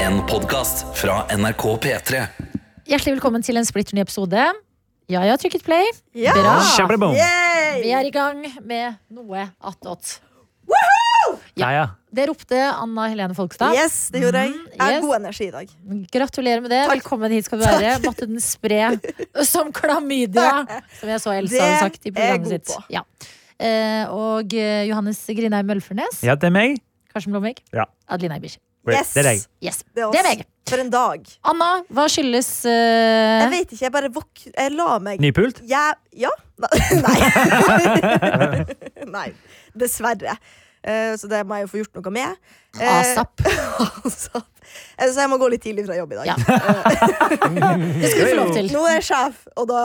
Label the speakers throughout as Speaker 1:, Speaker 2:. Speaker 1: En podcast fra NRK P3
Speaker 2: Hjertelig velkommen til en splitter ny episode. Ja, jeg har trykket play.
Speaker 3: Ja!
Speaker 2: Bra.
Speaker 4: Kjempebom!
Speaker 2: Vi
Speaker 3: Yay!
Speaker 2: er i gang med noe attåt.
Speaker 4: Ja, ja.
Speaker 2: Det ropte Anna Helene Folkstad.
Speaker 3: Yes, det gjorde jeg. Jeg har
Speaker 2: Mm, yes.
Speaker 3: god energi i dag.
Speaker 2: Gratulerer med det.
Speaker 3: Takk.
Speaker 2: Velkommen hit skal du være. Måtte den spre som klamydia, som jeg så Elsa
Speaker 3: Det
Speaker 2: hadde sagt i
Speaker 3: er jeg
Speaker 2: programmet
Speaker 3: god
Speaker 2: sitt.
Speaker 3: på.
Speaker 2: Ja. Eh, og eh, Johannes Grindheim Mølfernes.
Speaker 4: ja, det er meg.
Speaker 2: Karsten Blomvik.
Speaker 4: Ja.
Speaker 2: Adeline Eibish.
Speaker 4: Wait,
Speaker 3: Yes.
Speaker 4: Det er deg.
Speaker 2: Yes.
Speaker 3: Det er oss.
Speaker 2: Det er meg.
Speaker 3: For en dag.
Speaker 2: Anna, hva skyldes eh,
Speaker 3: Jeg vet ikke, jeg bare våk... Jeg la meg
Speaker 4: Ny pult?
Speaker 3: jeg, Ja? Nei. Nei. Dessverre. Eh, Så det må jeg jo få gjort noe med. Eh,
Speaker 2: ASAP?
Speaker 3: ASAP. Eh, Så jeg må gå litt tidlig fra jobb i dag. Eh,
Speaker 2: Ja. Det skulle du få lov til.
Speaker 3: Nå er jeg sjef, og da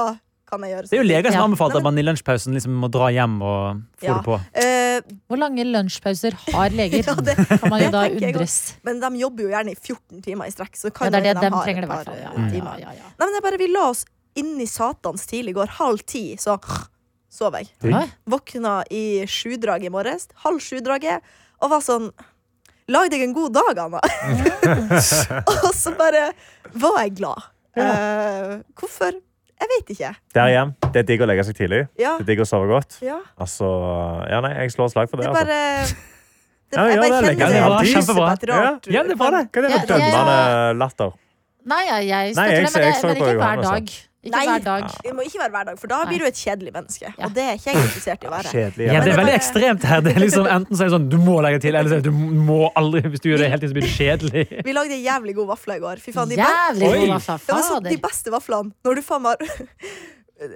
Speaker 3: kan jeg gjøre sånn.
Speaker 4: Det er jo leger som
Speaker 2: Ja.
Speaker 4: anbefaler
Speaker 3: Nei,
Speaker 4: at man i lunsjpausen liksom må dra hjem og få
Speaker 3: Ja.
Speaker 4: det på.
Speaker 3: Eh,
Speaker 2: Hvor lange lunsjpauser har leger?
Speaker 3: Ja, det-
Speaker 2: kan man jo
Speaker 3: det
Speaker 2: da
Speaker 3: tenker jeg
Speaker 2: undres.
Speaker 3: Men de jobber jo gjerne i 14 timer i strekk. Så
Speaker 2: Ja,
Speaker 3: kan
Speaker 2: det er det
Speaker 3: hende
Speaker 2: dem
Speaker 3: har
Speaker 2: trenger det
Speaker 3: et
Speaker 2: i hvert
Speaker 3: par,
Speaker 2: fall. Ja,
Speaker 3: eh,
Speaker 4: Mm.
Speaker 2: ja,
Speaker 3: timer.
Speaker 2: ja, ja.
Speaker 3: Nei, men jeg bare Vi la oss inn i satans tidlig i går. Halv ti, så sov jeg.
Speaker 2: Oi.
Speaker 3: Våkna i sjudraget i morges, halv sjudraget, og var sånn Lag deg en god dag, Anna! og så bare var jeg glad. Eh, hvorfor? Jeg vet ikke.
Speaker 5: Der igjen. Det er digg å legge seg tidlig.
Speaker 3: Ja,
Speaker 5: Det er digg å sove godt.
Speaker 3: ja.
Speaker 5: Altså, ja, nei, jeg slår et slag for
Speaker 3: Det
Speaker 5: det.
Speaker 3: er
Speaker 5: Altså.
Speaker 3: bare det,
Speaker 5: Ja,
Speaker 3: Jeg
Speaker 5: ja,
Speaker 3: bare
Speaker 5: det er
Speaker 3: kjenner
Speaker 5: lekkert.
Speaker 3: det.
Speaker 5: Det var
Speaker 3: lyset på
Speaker 4: kjempebra.
Speaker 3: et rart
Speaker 4: Ja, det er bra, det.
Speaker 5: Hva er det
Speaker 2: Ja,
Speaker 5: for
Speaker 2: ja, ja.
Speaker 5: dømmende latter?
Speaker 2: Nei, jeg, jeg
Speaker 5: Nei,
Speaker 2: støtter
Speaker 5: jeg-
Speaker 2: det, men, det,
Speaker 5: jeg så
Speaker 2: men
Speaker 5: på
Speaker 2: ikke hver
Speaker 5: Johannes, ja.
Speaker 2: dag. Ikke
Speaker 3: Nei.
Speaker 2: hver dag.
Speaker 3: Det må ikke være hver dag, for da
Speaker 2: Nei.
Speaker 3: blir du et kjedelig menneske.
Speaker 2: Ja.
Speaker 3: Og det er ikke jeg interessert i å være.
Speaker 5: Kjedelig.
Speaker 4: Ja,
Speaker 5: Ja.
Speaker 4: det
Speaker 3: det
Speaker 4: er
Speaker 3: er
Speaker 4: veldig
Speaker 3: bare-
Speaker 4: ekstremt her. Det er liksom, enten så er det sånn du må legge til, eller så er det, du må aldri. Hvis du gjør det hele tiden, så blir det kjedelig.
Speaker 3: Vi lagde en jævlig god vafler i går. Fy faen, de, be
Speaker 2: Jævlig
Speaker 4: Oi.
Speaker 2: god vaffa.
Speaker 3: Ja, men så,
Speaker 2: Fader.
Speaker 3: de beste vaflene. Når du faen meg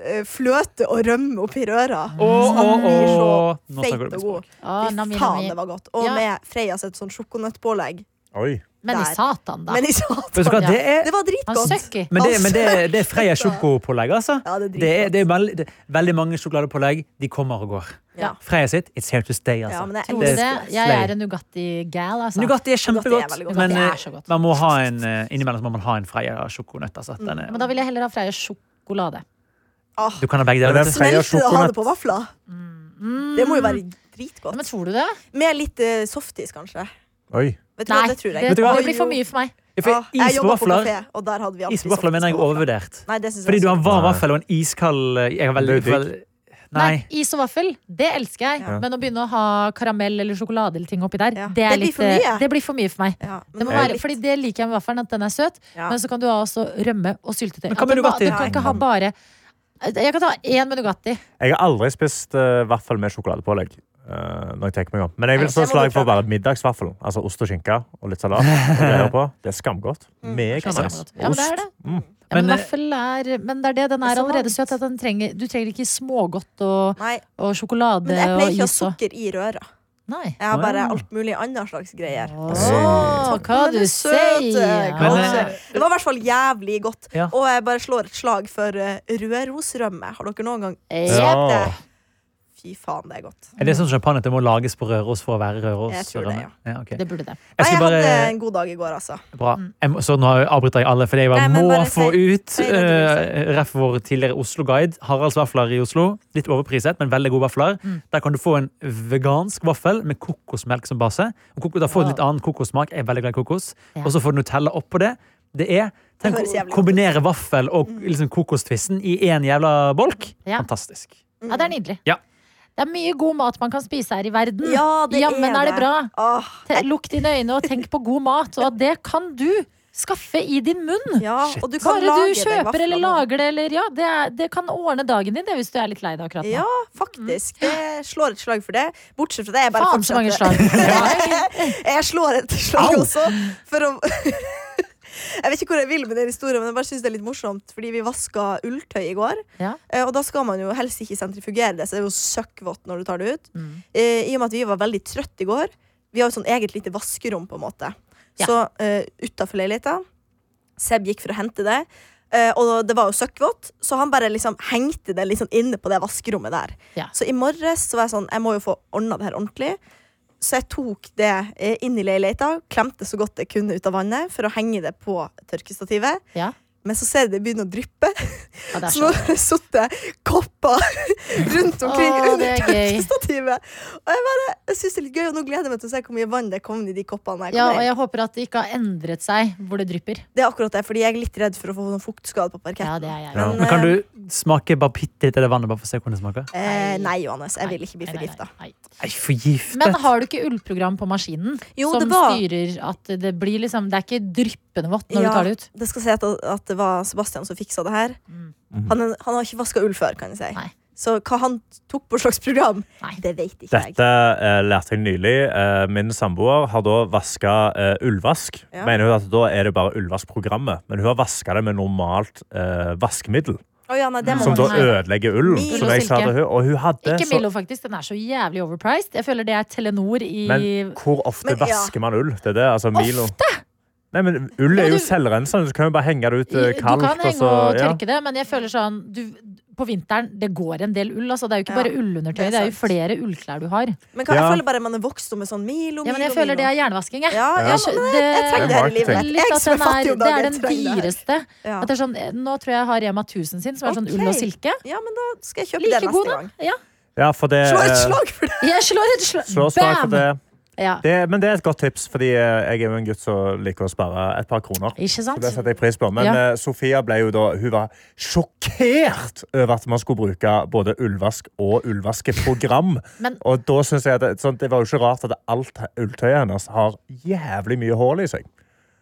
Speaker 3: har fløte og rømme oppi røra.
Speaker 4: Å, å, å. Nå
Speaker 3: Feit
Speaker 4: snakker
Speaker 3: og
Speaker 4: du
Speaker 3: god.
Speaker 4: språk.
Speaker 2: Å,
Speaker 3: Fy
Speaker 2: nami,
Speaker 3: faen,
Speaker 2: nami.
Speaker 3: det var godt. Og
Speaker 2: Ja.
Speaker 3: med Freia sitt sånn sjokonøttpålegg.
Speaker 5: Oi.
Speaker 2: Men i
Speaker 3: der.
Speaker 2: satan, da.
Speaker 3: Men i satan,
Speaker 4: Vet du hva, det er,
Speaker 3: det
Speaker 2: Han
Speaker 3: var dritgodt.
Speaker 2: søkker.
Speaker 4: men det, men det, det er Freia sjokopålegg, altså.
Speaker 3: Ja, det er
Speaker 4: Det er,
Speaker 3: dritgodt.
Speaker 4: det er veldig, det, veldig mange sjokoladepålegg. De kommer og går.
Speaker 3: Ja.
Speaker 4: Freia sitt, it's here to stay,
Speaker 3: Ja,
Speaker 4: altså.
Speaker 3: men jeg
Speaker 2: Tror du det?
Speaker 3: elsker det.
Speaker 2: Jeg er en Nugatti-gal, altså.
Speaker 4: Nugatti er
Speaker 3: Nugatti er
Speaker 4: kjempegodt,
Speaker 3: veldig godt.
Speaker 4: men
Speaker 2: Nugatti er
Speaker 4: eh,
Speaker 2: så godt.
Speaker 4: man må ha en, eh, innimellom så må man ha en Freia sjokonøtt. Altså.
Speaker 3: Mm.
Speaker 4: Den er-
Speaker 2: Men da vil jeg heller ha Freia sjokolade.
Speaker 3: Ah,
Speaker 4: Du kan ha begge deler.
Speaker 5: Men
Speaker 4: vet du.
Speaker 3: Smelte
Speaker 5: Freia
Speaker 3: det å ha
Speaker 5: sjokonøtt.
Speaker 3: det på vafler. Det må jo være
Speaker 2: Ja, Mm. Men
Speaker 3: dritgodt.
Speaker 2: tror du det?
Speaker 3: Med litt eh, softis, kanskje.
Speaker 5: Oi.
Speaker 3: Vet du
Speaker 2: Nei,
Speaker 3: hva, det
Speaker 2: det,
Speaker 3: tror
Speaker 2: det,
Speaker 3: jeg.
Speaker 2: blir for mye for meg.
Speaker 4: Ja, for
Speaker 3: Ah, jeg
Speaker 4: is på
Speaker 3: jobba på
Speaker 4: vafler,
Speaker 3: kafé, og der hadde vi alltid
Speaker 4: is på vafler mener jeg
Speaker 3: softis
Speaker 4: er
Speaker 3: på vafler.
Speaker 4: overvurdert.
Speaker 3: Nei, det synes jeg
Speaker 4: Fordi du har en
Speaker 3: også.
Speaker 4: varm
Speaker 5: Nei.
Speaker 4: vaffel og en iskald eh, jeg er veldig,
Speaker 5: Det er digg.
Speaker 4: vel-
Speaker 2: Nei,
Speaker 4: Nei.
Speaker 2: Is og vaffel, det elsker jeg.
Speaker 3: Ja.
Speaker 2: Men å begynne å ha karamell eller sjokolade eller ting oppi der,
Speaker 3: Ja.
Speaker 2: det, er
Speaker 3: Det blir
Speaker 2: litt,
Speaker 3: for mye.
Speaker 2: eh, det blir for mye for meg.
Speaker 3: ja, men
Speaker 2: Det må
Speaker 3: det er
Speaker 2: være,
Speaker 3: litt-
Speaker 2: fordi det liker jeg med vaffelen, at den er søt.
Speaker 3: Ja.
Speaker 2: Men så kan du ha også rømme og syltetøy.
Speaker 4: Men hva
Speaker 2: At
Speaker 4: med
Speaker 2: du ba-
Speaker 4: Nugatti?
Speaker 2: Du kan ikke ha bare Jeg kan ta én med Nugatti.
Speaker 5: Jeg har aldri spist eh, vaffel med sjokoladepålegg. eh, når jeg tenker meg om. Men jeg
Speaker 3: Nei,
Speaker 5: vil slå
Speaker 3: det må
Speaker 5: slag
Speaker 3: du
Speaker 5: for
Speaker 3: prøve.
Speaker 5: bare middagsvaffelen. Altså ost og skinke og litt salat. og greier på. Det er skamgodt.
Speaker 3: Mm.
Speaker 5: Meget
Speaker 2: Ja,
Speaker 5: nice.
Speaker 2: men det er det.
Speaker 5: Mm.
Speaker 2: Ja, men,
Speaker 4: Men, eh,
Speaker 2: vaffel er Men det er det, den
Speaker 3: Det er
Speaker 2: er
Speaker 3: så
Speaker 2: allerede
Speaker 3: varmt.
Speaker 2: søt. At den trenger, du trenger ikke smågodt og,
Speaker 3: Nei,
Speaker 2: og sjokolade
Speaker 3: men jeg pleier
Speaker 2: og
Speaker 3: ikke å ha
Speaker 2: is og
Speaker 3: sukker i røra.
Speaker 2: Nei.
Speaker 3: Jeg har bare
Speaker 4: Ah.
Speaker 3: alt mulig andre slags greier.
Speaker 2: Åh, hva
Speaker 3: Men
Speaker 2: du
Speaker 3: det er søte,
Speaker 2: sier!
Speaker 4: Men,
Speaker 3: kanskje.
Speaker 4: eh,
Speaker 3: Det var i hvert fall jævlig godt.
Speaker 4: Ja.
Speaker 3: Og jeg bare slår et slag for eh, rødrosrømme. Har dere noen gang
Speaker 2: Ja.
Speaker 3: sett det?
Speaker 5: Ja.
Speaker 3: Fy faen, det er godt.
Speaker 4: Er det sånn champagne at det må lages på Røros for å være Røros?
Speaker 3: Jeg tror det, ja.
Speaker 4: Ja, ok.
Speaker 2: Det burde det.
Speaker 4: Jeg
Speaker 3: Nei,
Speaker 4: skal
Speaker 3: jeg
Speaker 4: bare
Speaker 3: hadde en god dag i går, altså.
Speaker 4: Bra. Jeg må, så nå avbryter jeg alle, fordi jeg bare
Speaker 3: Nei, men
Speaker 4: må
Speaker 3: bare
Speaker 4: få
Speaker 3: si-
Speaker 4: ut
Speaker 3: si det du vil
Speaker 4: eh, ref vår tidligere Oslo-guide. Haralds vafler i Oslo. Litt overpriset, men veldig gode vafler.
Speaker 3: Mm.
Speaker 4: Der kan du få en vegansk vaffel med kokosmelk som base. Og koko, da får du litt annen kokossmak. Jeg er veldig glad i kokos.
Speaker 2: Ja.
Speaker 4: Og så får du Nutella oppå det. Det er Tenk
Speaker 3: Det høres
Speaker 4: å
Speaker 3: jævlig godt ut. Mm.
Speaker 4: kombinere vaffel og liksom, kokostvissen i én jævla bolk.
Speaker 2: Ja.
Speaker 4: Fantastisk.
Speaker 3: Mm.
Speaker 2: Ja, det er nydelig.
Speaker 4: Ja.
Speaker 2: Det er mye god mat man kan spise her i verden.
Speaker 3: Ja, det
Speaker 2: Jammen
Speaker 3: er
Speaker 2: Mm. er det
Speaker 3: det.
Speaker 2: bra.
Speaker 3: Åh,
Speaker 2: Te- Lukk dine øyne og tenk på god mat, og at det kan du skaffe i din munn.
Speaker 3: ja, og du kan
Speaker 2: Bare du
Speaker 3: lage deg
Speaker 2: kjøper
Speaker 3: vafler
Speaker 2: eller
Speaker 3: nå.
Speaker 2: lager det, eller ja, det, er, det kan ordne dagen din det, hvis du er litt lei deg akkurat nå.
Speaker 3: Ja, faktisk. Jeg slår et slag for det. Bortsett fra det, jeg bare
Speaker 2: Mm. Faen så mange slag.
Speaker 3: jeg slår et slag også for å Jeg vet ikke hvor jeg vil med den historien, men jeg bare synes det er litt morsomt. Fordi vi vaska ulltøy i går,
Speaker 2: Ja.
Speaker 3: eh, og da skal man jo helst ikke sentrifugere det, så det er jo søkkvått når du tar det ut.
Speaker 2: Mm.
Speaker 3: Eh, I og med at vi var veldig trøtte i går, vi har jo sånn eget lite vaskerom, på en måte.
Speaker 2: Ja.
Speaker 3: Så uh, utafor leiligheta Seb gikk for å hente det. eh, og det var jo søkkvått, så han bare liksom hengte det liksom inne på det vaskerommet der.
Speaker 2: Ja.
Speaker 3: Så i morges så var jeg sånn Jeg må jo få ordna det her ordentlig. Så jeg tok det eh, inn i leiligheta, klemte så godt jeg kunne ut av vannet for å henge det på tørkestativet.
Speaker 2: Ja.
Speaker 3: Men så ser jeg det begynner å dryppe.
Speaker 2: Ja, det er
Speaker 3: Så nå
Speaker 2: så
Speaker 3: har det sittet kopper rundt omkring
Speaker 2: Å, det
Speaker 3: under
Speaker 2: er gøy.
Speaker 3: tørkestativet. Og jeg bare, jeg syns det er litt gøy, og nå gleder jeg meg til å se hvor mye vann det kom i de koppene. Jeg
Speaker 2: ja, og
Speaker 3: kommer inn.
Speaker 2: jeg håper at det ikke har endret seg hvor det drypper.
Speaker 3: Det er akkurat det, fordi jeg er litt redd for å få noen fuktskade på
Speaker 2: Ja,
Speaker 3: parketten.
Speaker 2: det er jeg.
Speaker 5: Ja.
Speaker 3: Men,
Speaker 4: Men kan du smake bare bitte litt av det vannet bare for å se hvordan det smaker?
Speaker 3: eh, nei, Johannes, jeg vil ikke bli
Speaker 2: Nei, nei, nei,
Speaker 3: forgifta.
Speaker 2: nei.
Speaker 4: Nei, forgiftet!
Speaker 2: Men har du ikke ullprogram på maskinen
Speaker 3: Jo,
Speaker 2: som
Speaker 3: det var
Speaker 2: styrer at det blir liksom Det er ikke dryppende vått når
Speaker 3: Ja.
Speaker 2: du tar det ut?
Speaker 3: Det skal sies at, at det var Sebastian som fiksa det her.
Speaker 2: Mm.
Speaker 3: Han, han har ikke vaska ull før, kan jeg si.
Speaker 2: Nei.
Speaker 3: Så hva han tok på slags program,
Speaker 2: Nei.
Speaker 3: det vet ikke jeg.
Speaker 5: Dette eh, lærte jeg nylig. Eh, min samboer har da vaska eh, ullvask.
Speaker 3: Ja.
Speaker 5: Mener hun at da er det bare ullvaskprogrammet, men hun har vaska det med normalt eh, vaskemiddel.
Speaker 3: Å ja, nei, det må
Speaker 5: Som da
Speaker 3: man-
Speaker 2: Nei.
Speaker 5: ødelegger ullen.
Speaker 3: Milo
Speaker 5: Som jeg sa
Speaker 2: silke.
Speaker 5: til hun, og hun hadde
Speaker 2: Ikke
Speaker 5: så
Speaker 2: Milo, faktisk. Den er så jævlig overpriced. Jeg føler det er Telenor i
Speaker 5: Men hvor ofte
Speaker 3: Men, ja.
Speaker 5: vasker man ull? Det er det, altså Milo. Nei, men Ull
Speaker 2: Ja,
Speaker 5: er
Speaker 2: men
Speaker 5: jo
Speaker 2: du-
Speaker 5: selvrensende, så kan vi bare henge det ut eh,
Speaker 2: Du kan
Speaker 5: kaldt. og
Speaker 2: henge
Speaker 5: så,
Speaker 2: og
Speaker 5: ja.
Speaker 2: tørke det, men jeg føler sånn du, På vinteren, det går en del ull. Altså, det er jo ikke
Speaker 3: Ja,
Speaker 2: bare ullundertøy,
Speaker 3: det er
Speaker 2: det er jo
Speaker 3: sant.
Speaker 2: flere ullklær du har.
Speaker 3: Men hva, jeg
Speaker 5: Ja.
Speaker 3: føler bare man er vokst opp med sånn Milo, Milo,
Speaker 2: Ja, men jeg føler det er
Speaker 3: Milo.
Speaker 2: jernvasking, jeg.
Speaker 3: Ja, ja,
Speaker 2: Jeg skjø-
Speaker 3: men
Speaker 2: det-
Speaker 3: jeg, jeg trenger det her i
Speaker 5: Det er
Speaker 3: livet.
Speaker 2: Litt
Speaker 3: Jeg
Speaker 2: at
Speaker 3: som er
Speaker 2: den
Speaker 3: fattig
Speaker 2: er,
Speaker 3: om
Speaker 2: det er
Speaker 3: dagen,
Speaker 2: den
Speaker 3: trenger det her.
Speaker 2: dyreste.
Speaker 3: Ja.
Speaker 2: At det er sånn, nå tror jeg jeg har Rema 1000 sin, som er sånn ull og
Speaker 3: Ok.
Speaker 2: silke.
Speaker 3: ja, men da skal jeg kjøpe det
Speaker 2: Like
Speaker 3: neste
Speaker 2: god, da.
Speaker 3: gang.
Speaker 2: Ja.
Speaker 5: Ja, for det,
Speaker 3: Slå et
Speaker 5: eh,
Speaker 3: slag for det!
Speaker 2: Jeg slår et
Speaker 5: slå
Speaker 2: slag.
Speaker 5: et slag for
Speaker 2: Bam!
Speaker 5: det.
Speaker 2: Ja.
Speaker 5: det. Men det er et godt tips, fordi eh, jeg er jo en gutt som liker å spare et par kroner.
Speaker 2: Ikke
Speaker 5: Så
Speaker 2: sant?
Speaker 5: det setter jeg pris på. Men
Speaker 2: Ja.
Speaker 5: eh, Sofia ble jo da, hun var sjokkert over at man skulle bruke både ullvask og ullvaskeprogram.
Speaker 2: Men-
Speaker 5: og da synes jeg at det, sånn, det var jo ikke rart at alt ulltøyet hennes har jævlig mye hull i seg.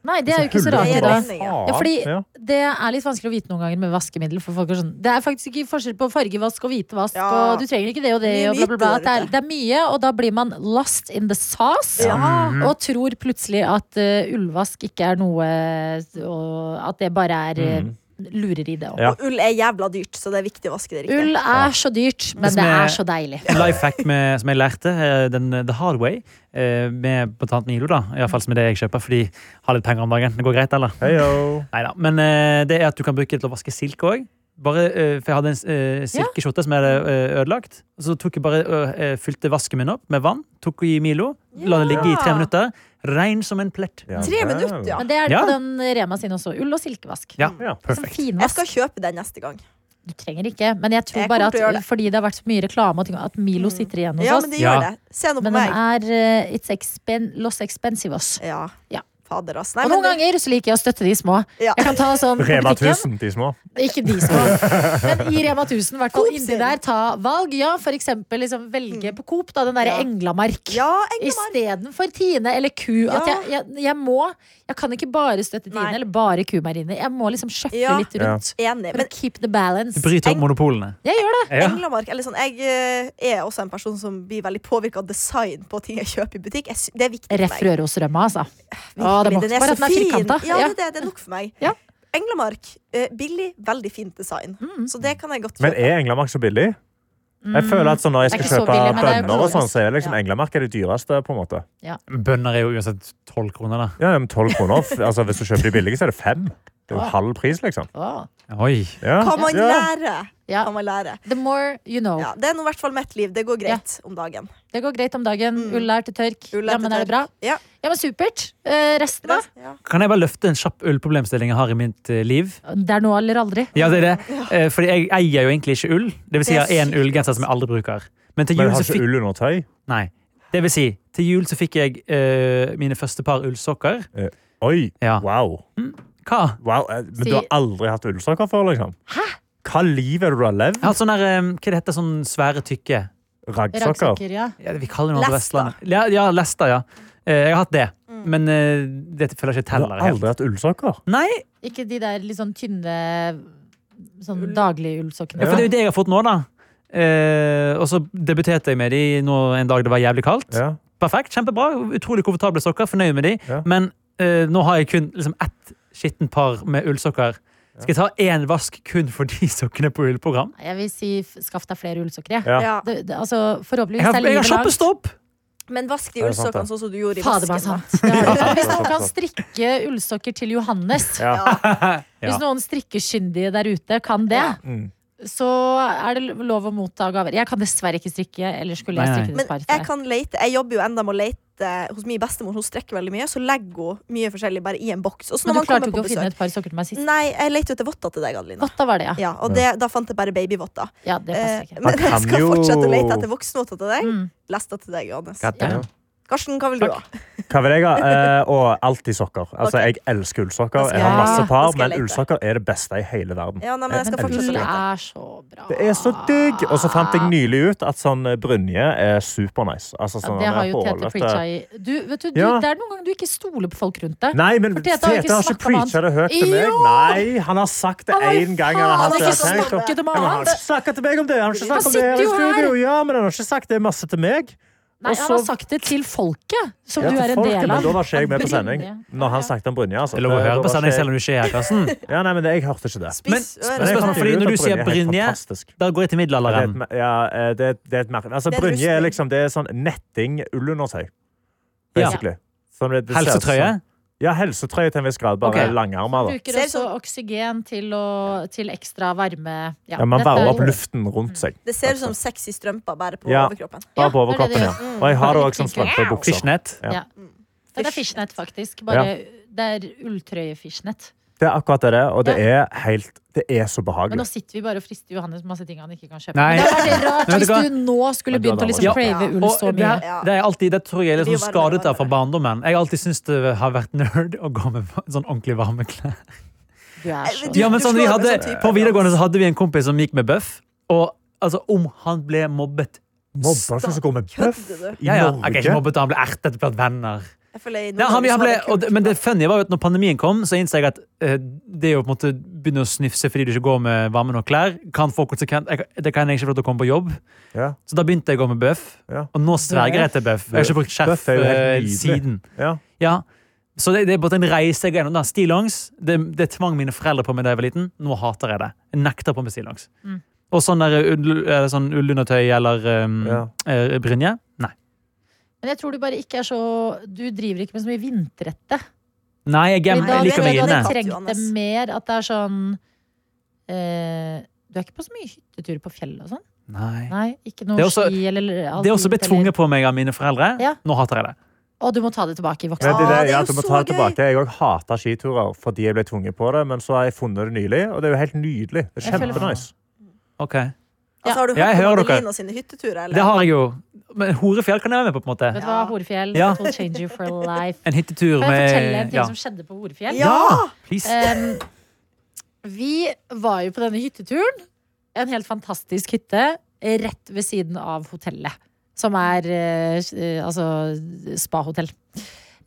Speaker 2: Nei, det er jo ikke så rart.
Speaker 3: i
Speaker 5: Huller
Speaker 2: Ida.
Speaker 3: det.
Speaker 5: som bare
Speaker 3: Ja,
Speaker 5: faen.
Speaker 2: Ja, fordi
Speaker 5: Ja.
Speaker 2: Det er litt vanskelig å vite noen ganger med vaskemiddel. For folk er sånn, det er faktisk ikke forskjell på fargevask og hvitevask.
Speaker 3: Ja.
Speaker 2: Og du trenger ikke det og det.
Speaker 3: Mye
Speaker 2: Og bla, bla, bla.
Speaker 3: myter
Speaker 2: Det,
Speaker 3: der
Speaker 2: er, det er mye, og da blir man lost in the sauce.
Speaker 3: Ja.
Speaker 4: Mm.
Speaker 2: Og tror plutselig at eh, ullvask ikke er noe Og at det bare er eh,
Speaker 4: Mm.
Speaker 2: lureri, det òg.
Speaker 5: Ja.
Speaker 3: Og ull er jævla dyrt, så det er viktig å vaske det riktig.
Speaker 2: Ull er så dyrt, men
Speaker 4: Hvis
Speaker 2: det
Speaker 4: vi-
Speaker 2: er så deilig.
Speaker 4: Life hack med, som jeg lærte, eh, den, eh, the hard way, eh, med blant annet Milo, da. Iallfall som er det jeg kjøper, fordi jeg har litt penger om dagen. Det går greit, eller?
Speaker 5: Heyo.
Speaker 4: Neida. Men eh, det er at du kan bruke det til å vaske silke òg. Bare, eh, for jeg hadde en uh, silkeskjorte som jeg hadde eh, ødelagt. Så tok jeg bare eh, eh, fylte vasken min opp med vann, tok i Milo, la det ligge i tre
Speaker 3: Ja.
Speaker 4: minutter. Rein som en plett.
Speaker 5: Ja,
Speaker 3: Tre
Speaker 5: vel.
Speaker 3: minutter, ja.
Speaker 2: Men det er det
Speaker 4: Ja.
Speaker 2: på den Rema sin også. Ull og silkevask.
Speaker 4: Ja,
Speaker 5: Ja,
Speaker 2: Som
Speaker 4: perfekt.
Speaker 3: Jeg
Speaker 2: finvask.
Speaker 3: skal kjøpe den neste gang.
Speaker 2: Du trenger ikke, men jeg tror
Speaker 3: Jeg
Speaker 2: bare
Speaker 3: kommer til å gjøre
Speaker 2: at
Speaker 3: det. Mm.
Speaker 2: fordi det har vært så mye reklame, og ting, at Milo sitter igjen hos
Speaker 3: Ja,
Speaker 2: oss.
Speaker 3: men det
Speaker 4: Ja.
Speaker 3: gjør det. Se nå på
Speaker 2: Men den
Speaker 3: meg.
Speaker 2: er eh, It's expen Los Expensivos.
Speaker 3: Ja.
Speaker 2: Ja.
Speaker 3: Fader, ass.
Speaker 2: Og
Speaker 3: Nei,
Speaker 2: noen
Speaker 3: men
Speaker 2: ganger så liker jeg å støtte de små.
Speaker 3: Ja.
Speaker 2: Jeg kan ta sånn på
Speaker 5: Rema
Speaker 2: butikken.
Speaker 5: 1000, de små.
Speaker 2: Ikke de små, men i Rema 1000. I hvert fall
Speaker 3: Coop
Speaker 2: inni
Speaker 3: sin. Mm.
Speaker 2: der. Ta valg. Ja, for eksempel liksom, velge på Coop, da. Den derre
Speaker 3: Ja.
Speaker 2: Englamark.
Speaker 3: Ja, Engelmann.
Speaker 2: Istedenfor Tine eller Ku. At
Speaker 3: Ja.
Speaker 2: jeg, jeg, jeg må Jeg kan ikke bare støtte Tine
Speaker 3: Nei.
Speaker 2: eller bare Kumarine. Jeg må liksom sjøffe
Speaker 3: Ja.
Speaker 2: litt rundt.
Speaker 3: Enig.
Speaker 2: For
Speaker 3: Men
Speaker 2: å keep the balance.
Speaker 4: Du bryter opp monopolene.
Speaker 2: Jeg gjør det.
Speaker 4: Ja.
Speaker 3: Englamark eller sånn, Jeg eh, er også en person som blir veldig påvirka av design på ting jeg kjøper i butikk. Jeg, sy- det er viktig for
Speaker 2: Ref
Speaker 3: meg.
Speaker 2: Rørosrømma, altså. Å, det
Speaker 3: Virkelig,
Speaker 2: må
Speaker 3: den er
Speaker 2: bare
Speaker 3: så
Speaker 2: at den er
Speaker 3: fin.
Speaker 2: firkanta.
Speaker 3: Ja,
Speaker 2: Ja.
Speaker 3: det, er det, det er nok for meg.
Speaker 2: Ja.
Speaker 3: Englamark, eh, billig, veldig fint design.
Speaker 2: Mm.
Speaker 3: Så det kan jeg godt
Speaker 5: Men
Speaker 3: kjøpe.
Speaker 5: er Englamark så billig? Jeg føler at sånn Når jeg
Speaker 2: Det er
Speaker 5: skal
Speaker 2: ikke så
Speaker 5: kjøpe
Speaker 2: billig, men det er
Speaker 5: bønner, og sånn,
Speaker 2: økologisk.
Speaker 5: så er det liksom
Speaker 3: Ja.
Speaker 5: Englamark er det dyreste. på en måte.
Speaker 4: Bønner er jo uansett tolv kroner, da.
Speaker 5: Ja, ja, men 12 kroner. f- Altså, Hvis du kjøper de billige, så er det fem. Det er jo
Speaker 2: Ja.
Speaker 5: halv pris, liksom.
Speaker 2: Å.
Speaker 4: Oi.
Speaker 5: Ja.
Speaker 3: Kan man
Speaker 5: Ja.
Speaker 3: lære?
Speaker 2: Ja.
Speaker 3: Kan man lære?
Speaker 2: The more you know.
Speaker 3: Ja, det er nå i hvert fall mitt liv. Det går greit om dagen.
Speaker 2: Det går greit om dagen. Ull er til tørk.
Speaker 3: Mm. Ull er
Speaker 2: ja,
Speaker 3: til
Speaker 2: men er det bra?
Speaker 3: tørk. Ja.
Speaker 2: Ja, men supert. Eh, resten, da?
Speaker 3: Ja.
Speaker 4: Kan jeg bare løfte en kjapp ullproblemstilling jeg har i mitt eh, liv?
Speaker 2: Det er nå eller aldri.
Speaker 4: Ja, det er det. Eh, Fordi jeg eier jo egentlig ikke ull. Det vil si jeg har
Speaker 3: Det er
Speaker 4: én ullgenser som jeg aldri bruker. Men til
Speaker 5: Men
Speaker 4: jul
Speaker 5: har
Speaker 4: så
Speaker 5: ikke
Speaker 4: fikk
Speaker 5: ull under tøy?
Speaker 4: Nei. Det vil si, til jul så fikk jeg eh, mine første par ullsokker.
Speaker 5: Oi,
Speaker 4: Ja.
Speaker 5: wow.
Speaker 4: Hva?
Speaker 5: wow. eh, Men du har
Speaker 2: Si-
Speaker 5: aldri hatt ullsokker før, liksom? Hva liv er det du har levd?
Speaker 4: Jeg har hatt sånn der, eh, hva det heter sånn svære tykke
Speaker 5: Raggsokker?
Speaker 2: Raggsokker, ja.
Speaker 4: ja, Vi kaller det noe på
Speaker 3: Lester.
Speaker 4: Vestlandet. Ja, ja lester, ja. Eh, jeg har hatt det. Men eh, det føler jeg ikke
Speaker 5: Du har
Speaker 4: teller helt.
Speaker 5: aldri hatt ullsokker?
Speaker 4: Nei,
Speaker 2: Ikke de der litt sånn tynne sånn dagligullsokkene.
Speaker 4: ja, for det er jo det jeg har fått nå, da. Eh, og så debuterte jeg med de nå en dag det var jævlig kaldt.
Speaker 5: Ja.
Speaker 4: Perfekt, kjempebra. Utrolig komfortable sokker. Fornøyd med de.
Speaker 5: Ja.
Speaker 4: Men eh, nå har jeg kun liksom, ett skittent par med ullsokker. Skal jeg ta én vask kun for de sokkene på ullprogram?
Speaker 2: Jeg vil si f- skaff deg flere ullsokker, jeg.
Speaker 5: Ja.
Speaker 3: Ja.
Speaker 2: Det, det, altså, forhåpentligvis
Speaker 4: Jeg har,
Speaker 2: er
Speaker 4: jeg
Speaker 2: livet
Speaker 4: har
Speaker 2: langt.
Speaker 4: shoppestopp!
Speaker 3: Men vask de
Speaker 5: Ja, det er sant,
Speaker 3: ullsokkene sånn som du gjorde i
Speaker 2: Fader, bare sånn.
Speaker 3: vasken. da.
Speaker 2: sant. Det har du.
Speaker 5: Ja.
Speaker 2: Hvis noen kan strikke ullsokker til Johannes,
Speaker 5: Ja.
Speaker 2: hvis noen strikkekyndige der ute kan det,
Speaker 5: Mm.
Speaker 2: så er det lov å motta gaver. Jeg kan dessverre ikke strikke, ellers skulle
Speaker 4: Nei,
Speaker 2: jeg
Speaker 4: nei.
Speaker 2: strikket
Speaker 3: Men
Speaker 2: et par til
Speaker 3: jeg
Speaker 2: deg.
Speaker 3: kan lete. Jeg jobber jo enda med å lete beste, hos min bestemor, hun strekker veldig mye, så legger hun mye forskjellig bare i en boks. Og så
Speaker 2: Men
Speaker 3: når
Speaker 2: du
Speaker 3: man
Speaker 2: klarte
Speaker 3: kommer
Speaker 2: jo ikke
Speaker 3: på
Speaker 2: å finne
Speaker 3: besøk
Speaker 2: et par sokker til meg sist.
Speaker 3: Nei, jeg lette etter votter til deg, Adelina.
Speaker 2: Votta var det, ja.
Speaker 3: Ja, og det, da fant jeg bare babyvotter.
Speaker 2: Ja, det passer
Speaker 3: Eh,
Speaker 2: ikke.
Speaker 5: Man
Speaker 3: men jeg
Speaker 5: kan
Speaker 3: skal
Speaker 5: jo-
Speaker 3: fortsette å lete etter voksenvotter til deg.
Speaker 2: Mm.
Speaker 3: Leste til deg, Johannes.
Speaker 5: Hva
Speaker 2: Ja.
Speaker 3: Karsten, hva vil du ha?
Speaker 5: Hva vil jeg ha? Eh, og alltid sokker.
Speaker 3: Ok.
Speaker 5: Altså, Jeg elsker ullsokker.
Speaker 3: Da skal
Speaker 5: Jeg har
Speaker 2: jeg-
Speaker 5: masse par,
Speaker 3: da skal jeg
Speaker 5: men
Speaker 3: lete.
Speaker 5: ullsokker er det beste i hele verden.
Speaker 3: Ja, nei, men jeg skal
Speaker 5: elsker
Speaker 3: fortsette
Speaker 2: Ull
Speaker 3: å
Speaker 5: det.
Speaker 3: lete.
Speaker 2: er så bra.
Speaker 5: Det er så digg! Og så fant jeg nylig ut at sånn eh, brynje er supernice.
Speaker 2: ja,
Speaker 5: Altså,
Speaker 2: Det
Speaker 5: sånn den
Speaker 2: har
Speaker 5: er eh.
Speaker 2: jo Tete
Speaker 5: hålete.
Speaker 2: preacha i du, vet du, du,
Speaker 5: Ja.
Speaker 2: Det er noen ganger du ikke stoler på folk rundt deg.
Speaker 5: Nei, men
Speaker 2: For
Speaker 5: Tete
Speaker 2: Tete har
Speaker 5: har
Speaker 2: ikke
Speaker 5: ikke
Speaker 2: snakket om han.
Speaker 5: preacha det høyt til meg.
Speaker 2: Jo!
Speaker 5: Nei, han har sagt det
Speaker 2: Han har jo
Speaker 5: én gang. Han har
Speaker 2: faen
Speaker 5: hatt det.
Speaker 2: ikke
Speaker 5: Jeg
Speaker 2: snakket
Speaker 5: tenkte,
Speaker 2: om
Speaker 5: "Men altså, han har
Speaker 2: han."
Speaker 5: ikke snakket til meg om det! Han har
Speaker 2: Han
Speaker 5: ikke snakket om det her i
Speaker 2: sitter jo her.
Speaker 5: studio! Ja, men han har ikke sagt det masse til meg.
Speaker 2: Nei,
Speaker 5: Og
Speaker 2: han
Speaker 5: så-
Speaker 2: har sagt det til folket, som
Speaker 5: Ja,
Speaker 2: du
Speaker 5: til
Speaker 2: er en
Speaker 5: folket,
Speaker 2: del
Speaker 5: Men
Speaker 2: av.
Speaker 5: da var ikke jeg med på
Speaker 2: Brynje.
Speaker 5: sending. Når han snakket om brynje, altså.
Speaker 4: Det er lov å
Speaker 5: Eh, da
Speaker 4: høre
Speaker 5: var
Speaker 4: på sending
Speaker 5: ikke jeg-
Speaker 4: selv om du ikke er her, Karsten.
Speaker 5: Ja, nei, men jeg hørte ikke det. sånn.
Speaker 4: Men
Speaker 3: Spis
Speaker 5: Men jeg
Speaker 3: øret.
Speaker 4: spørsmål
Speaker 5: fant
Speaker 4: fordi
Speaker 5: ut
Speaker 4: når
Speaker 5: at
Speaker 4: du sier
Speaker 5: er helt
Speaker 4: brynje,
Speaker 5: fantastisk.
Speaker 4: Da går jeg til
Speaker 5: Det er
Speaker 4: middelalderen.
Speaker 5: et, ja, eh, det, er et- det er et merke. Altså,
Speaker 3: Det er
Speaker 5: brynje er
Speaker 3: rustning.
Speaker 5: liksom det er sånn netting ull under seg.
Speaker 4: Ja.
Speaker 5: Basically. Sånn det- det ser ut som-
Speaker 4: Helsetrøye.
Speaker 5: Ja, helsetrøye til en viss grad. Bare
Speaker 4: Ok.
Speaker 5: langarmer. Da.
Speaker 2: Bruker
Speaker 3: Ser
Speaker 2: også
Speaker 3: sånn-
Speaker 2: oksygen til, å, til ekstra varme.
Speaker 5: Ja, man
Speaker 2: dette er
Speaker 5: varmer opp
Speaker 2: jo-
Speaker 5: luften rundt seg.
Speaker 3: Det ser ut som sexy strømper bare på
Speaker 5: Ja.
Speaker 3: overkroppen.
Speaker 5: Bare
Speaker 2: Ja, det er
Speaker 5: på
Speaker 2: det
Speaker 5: overkroppen,
Speaker 2: det Mm.
Speaker 5: ja. Og jeg har det òg som strømpe og bukser.
Speaker 4: Fishnet.
Speaker 5: Ja.
Speaker 2: Ja.
Speaker 3: Mm.
Speaker 2: Ja, Det er fishnet, faktisk. Bare, Det er ulltrøye-fishnet.
Speaker 5: Det er akkurat det det, er, og det er helt Det er så behagelig.
Speaker 2: Men nå sitter vi bare og frister Johannes med masse ting han ikke kan kjøpe.
Speaker 4: Nei.
Speaker 2: Men Det hadde vært rart
Speaker 4: Men vet du
Speaker 2: hvis du nå skulle
Speaker 5: Men du
Speaker 2: begynt å
Speaker 5: hadde
Speaker 2: liksom
Speaker 4: aldri-
Speaker 2: crave
Speaker 3: Ja.
Speaker 2: ull
Speaker 4: Og
Speaker 2: så
Speaker 4: det,
Speaker 2: mye.
Speaker 4: her, det, er alltid, det tror jeg er
Speaker 3: Det blir
Speaker 4: liksom
Speaker 3: jo varmere og
Speaker 4: skadet der fra
Speaker 3: varmere.
Speaker 4: barndommen. Jeg har alltid syntes det har vært nerd å gå med sånn ordentlig varme klær.
Speaker 2: Du er så
Speaker 3: Du-
Speaker 4: Ja, men sånn, vi
Speaker 3: slår
Speaker 4: hadde,
Speaker 3: meg som type.
Speaker 4: på videregående så hadde vi en kompis som gikk med bøff. Og altså, om han ble mobbet
Speaker 5: Mobber ikke som går med bøff
Speaker 3: Kødder du?
Speaker 5: i
Speaker 4: Ja, ja. Ok, ikke
Speaker 5: Norge.
Speaker 4: mobbet, han ble ertet blant venner.
Speaker 3: Jeg føler jeg i
Speaker 4: Ja, han,
Speaker 3: Nord-Norge
Speaker 4: han
Speaker 3: så
Speaker 4: ble,
Speaker 3: hadde jeg
Speaker 4: og,
Speaker 3: kult.
Speaker 4: det- men det funny var jo at når pandemien kom, så innså jeg at eh, det å på en måte begynne å snifse fordi du ikke går med varme nok klær, kan få konsekvent jeg, Det kan jeg ikke få lov til å komme på jobb.
Speaker 5: Ja,
Speaker 4: Så da begynte jeg å gå med bøff,
Speaker 5: Ja.
Speaker 4: og nå sverger jeg til bøff. Jeg har ikke brukt skjerf
Speaker 5: Bøff er jo helt
Speaker 4: eh,
Speaker 5: nydelig.
Speaker 4: siden.
Speaker 5: ja.
Speaker 4: Ja. Så det, det er bare en reise jeg går gjennom. da. Stillongs det, det tvang mine foreldre på meg da jeg var liten. Nå hater jeg det. Jeg nekter på meg stillongs.
Speaker 2: Mm.
Speaker 4: Og sånn der ull- eh, sånn ullundertøy eller um,
Speaker 5: Ja.
Speaker 4: eh, brynje. Nei.
Speaker 2: Men jeg tror du bare ikke er så Du driver ikke med så mye vinterrette.
Speaker 4: Nei,
Speaker 2: Fordi
Speaker 4: jeg, gem-
Speaker 2: da
Speaker 4: jeg liker
Speaker 2: tror
Speaker 4: meg
Speaker 2: jeg du
Speaker 4: inne.
Speaker 2: hadde
Speaker 3: inne.
Speaker 2: trengt det mer. At det er sånn eh, Du er ikke på så mye hytteturer på fjellet og sånn?
Speaker 4: Nei.
Speaker 2: Nei, ikke
Speaker 4: Det
Speaker 2: noe
Speaker 4: er også-
Speaker 2: ski eller
Speaker 4: Det er også
Speaker 2: alpint
Speaker 4: blitt tvunget på meg av mine foreldre.
Speaker 2: Ja.
Speaker 4: Nå hater jeg det.
Speaker 2: Eller, å, du må ta det tilbake i
Speaker 5: Men
Speaker 2: voksen
Speaker 5: det, er
Speaker 3: Åh,
Speaker 5: det,
Speaker 3: det er
Speaker 5: ja,
Speaker 3: jo
Speaker 5: du må
Speaker 3: så
Speaker 5: ta
Speaker 3: gøy.
Speaker 5: det tilbake. Jeg òg hata skiturer fordi jeg ble tvunget på det, men så har jeg funnet det nylig, og det er jo helt nydelig. Det er
Speaker 2: Jeg føler-
Speaker 5: kjempenice.
Speaker 4: Ok,
Speaker 3: Altså, har du
Speaker 4: Ja, jeg
Speaker 3: hørt
Speaker 4: hører
Speaker 3: om
Speaker 4: dere.
Speaker 3: Adelina sine hytteturer,
Speaker 4: Det
Speaker 3: eller?
Speaker 4: har jeg jo. Men Horefjell kan jeg være med på. på en måte
Speaker 2: Vet du hva, Horefjell,
Speaker 4: Ja.
Speaker 2: it will change you for life.
Speaker 4: En hyttetur
Speaker 2: Kan jeg fortelle en
Speaker 4: med
Speaker 2: ting som Eh, skjedde på Horefjell?
Speaker 3: Ja!
Speaker 4: please.
Speaker 2: Em, vi var jo på denne hytteturen. En helt fantastisk hytte rett ved siden av hotellet. Som er eh, eh, altså spahotell.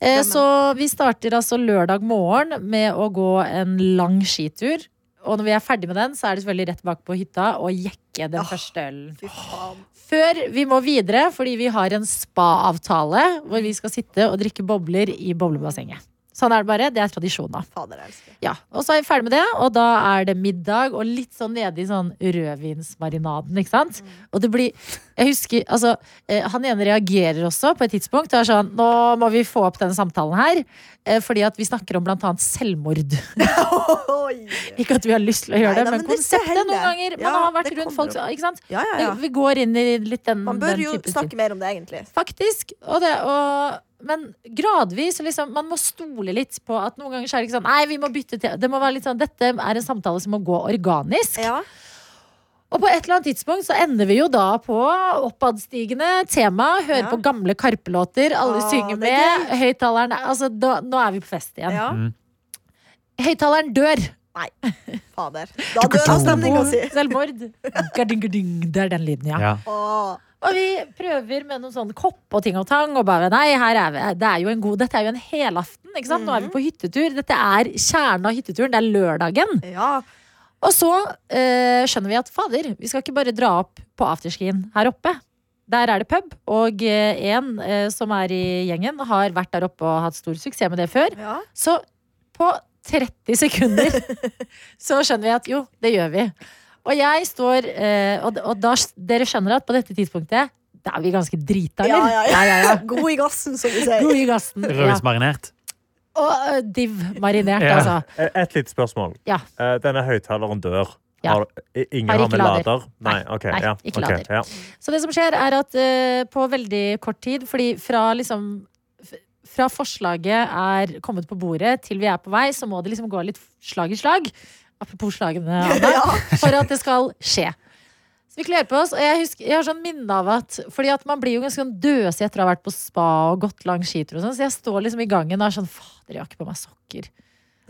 Speaker 2: Eh,
Speaker 3: Stemmer.
Speaker 2: så vi starter altså lørdag morgen med å gå en lang skitur. Og når vi er ferdig med den, så er det selvfølgelig rett bak på hytta og jekke den
Speaker 3: Åh.
Speaker 2: første ølen.
Speaker 3: Fy faen.
Speaker 2: Før vi må videre, fordi vi har en spa-avtale hvor vi skal sitte og drikke bobler i boblebassenget. Sånn er det bare. Det er tradisjonen.
Speaker 3: Fader, jeg elsker det.
Speaker 2: Ja, og så er vi ferdig med det, og da er det middag og litt sånn nede i sånn rødvinsmarinaden, ikke sant?
Speaker 3: Mm.
Speaker 2: Og det blir Jeg husker Altså, eh, han ene reagerer også på et tidspunkt og er sånn Nå må vi få opp denne samtalen her, eh, fordi at vi snakker om blant annet selvmord.
Speaker 3: Oi.
Speaker 2: Ikke at vi har lyst til å gjøre det,
Speaker 3: Nei, nei,
Speaker 2: men,
Speaker 3: men det skal
Speaker 2: konseptet noen
Speaker 3: hende.
Speaker 2: ganger. Man
Speaker 3: Ja,
Speaker 2: har vært
Speaker 3: det
Speaker 2: rundt
Speaker 3: kommer
Speaker 2: folk,
Speaker 3: opp.
Speaker 2: ikke sant?
Speaker 3: Ja, ja,
Speaker 2: Det,
Speaker 3: ja.
Speaker 2: vi går inn i litt den
Speaker 3: Man bør
Speaker 2: Mm, den
Speaker 3: jo
Speaker 2: type ting.
Speaker 3: snakke mer om det, egentlig.
Speaker 2: Faktisk. Og det, og, men gradvis. Liksom, man må stole litt på at noen ganger så er det ikke sånn Nei, vi må bytte til Det må være litt sånn Dette er en samtale som må gå organisk.
Speaker 3: Ja.
Speaker 2: Og på et eller annet tidspunkt så ender vi jo da på oppadstigende tema. Hører
Speaker 3: Ja.
Speaker 2: på gamle Karpe-låter. Alle
Speaker 3: Ah,
Speaker 2: synger
Speaker 3: det er
Speaker 2: med. Høyttaleren er- Altså, da, nå er vi på fest igjen.
Speaker 3: ja.
Speaker 2: Høyttaleren dør.
Speaker 3: Fader. Da dør han stemninga si.
Speaker 2: Selvmord. Garding, garding. Det er den lyden, ja.
Speaker 4: Ja.
Speaker 3: Åh.
Speaker 2: Og vi prøver med noen sånne kopp og ting og tang. Og bare, nei, her er vi. Det er jo en god, dette er jo en helaften. Ikke sant? Nå er vi på hyttetur. Dette er kjernen av hytteturen. Det er lørdagen.
Speaker 3: Ja.
Speaker 2: Og så eh, skjønner vi at fader, vi skal ikke bare dra opp på afterskien her oppe. Der er det pub, og eh, en eh, som er i gjengen, har vært der oppe og hatt stor suksess med det før.
Speaker 3: ja.
Speaker 2: Så på 30 sekunder så skjønner vi at jo, det gjør vi. Og jeg står eh, Og, og da, dere skjønner at på dette tidspunktet da er vi ganske drita,
Speaker 3: Ja,
Speaker 2: eller?
Speaker 3: ja, ja. God i gassen, som vi sier.
Speaker 2: God i gassen. Ja.
Speaker 4: Rødvinsmarinert.
Speaker 2: Og eh, div marinert,
Speaker 4: Ja.
Speaker 2: altså.
Speaker 5: Eh, Et lite spørsmål.
Speaker 2: Ja.
Speaker 5: Eh, Denne høyttaleren dør.
Speaker 2: Ja.
Speaker 5: Har, i- ingen
Speaker 2: Har
Speaker 5: har
Speaker 2: ikke
Speaker 5: med
Speaker 2: lader.
Speaker 5: lader? Nei,
Speaker 2: Nei,
Speaker 5: ok,
Speaker 2: nei,
Speaker 5: ja.
Speaker 2: ikke
Speaker 5: ok,
Speaker 2: lader.
Speaker 5: Ja.
Speaker 2: Så det som skjer, er at eh, på veldig kort tid, fordi fra liksom fra forslaget er kommet på bordet til vi er på vei, så må det liksom gå litt slag i slag. Apropos slagene, Anna. For at det skal skje. Så vi kler på oss, og jeg, husker, jeg har sånn minne av at Fordi at man blir jo ganske sånn døsig etter å ha vært på spa og gått lang skitur og sånn, så jeg står liksom i gangen og er sånn Fader, jeg har ikke på meg sokker.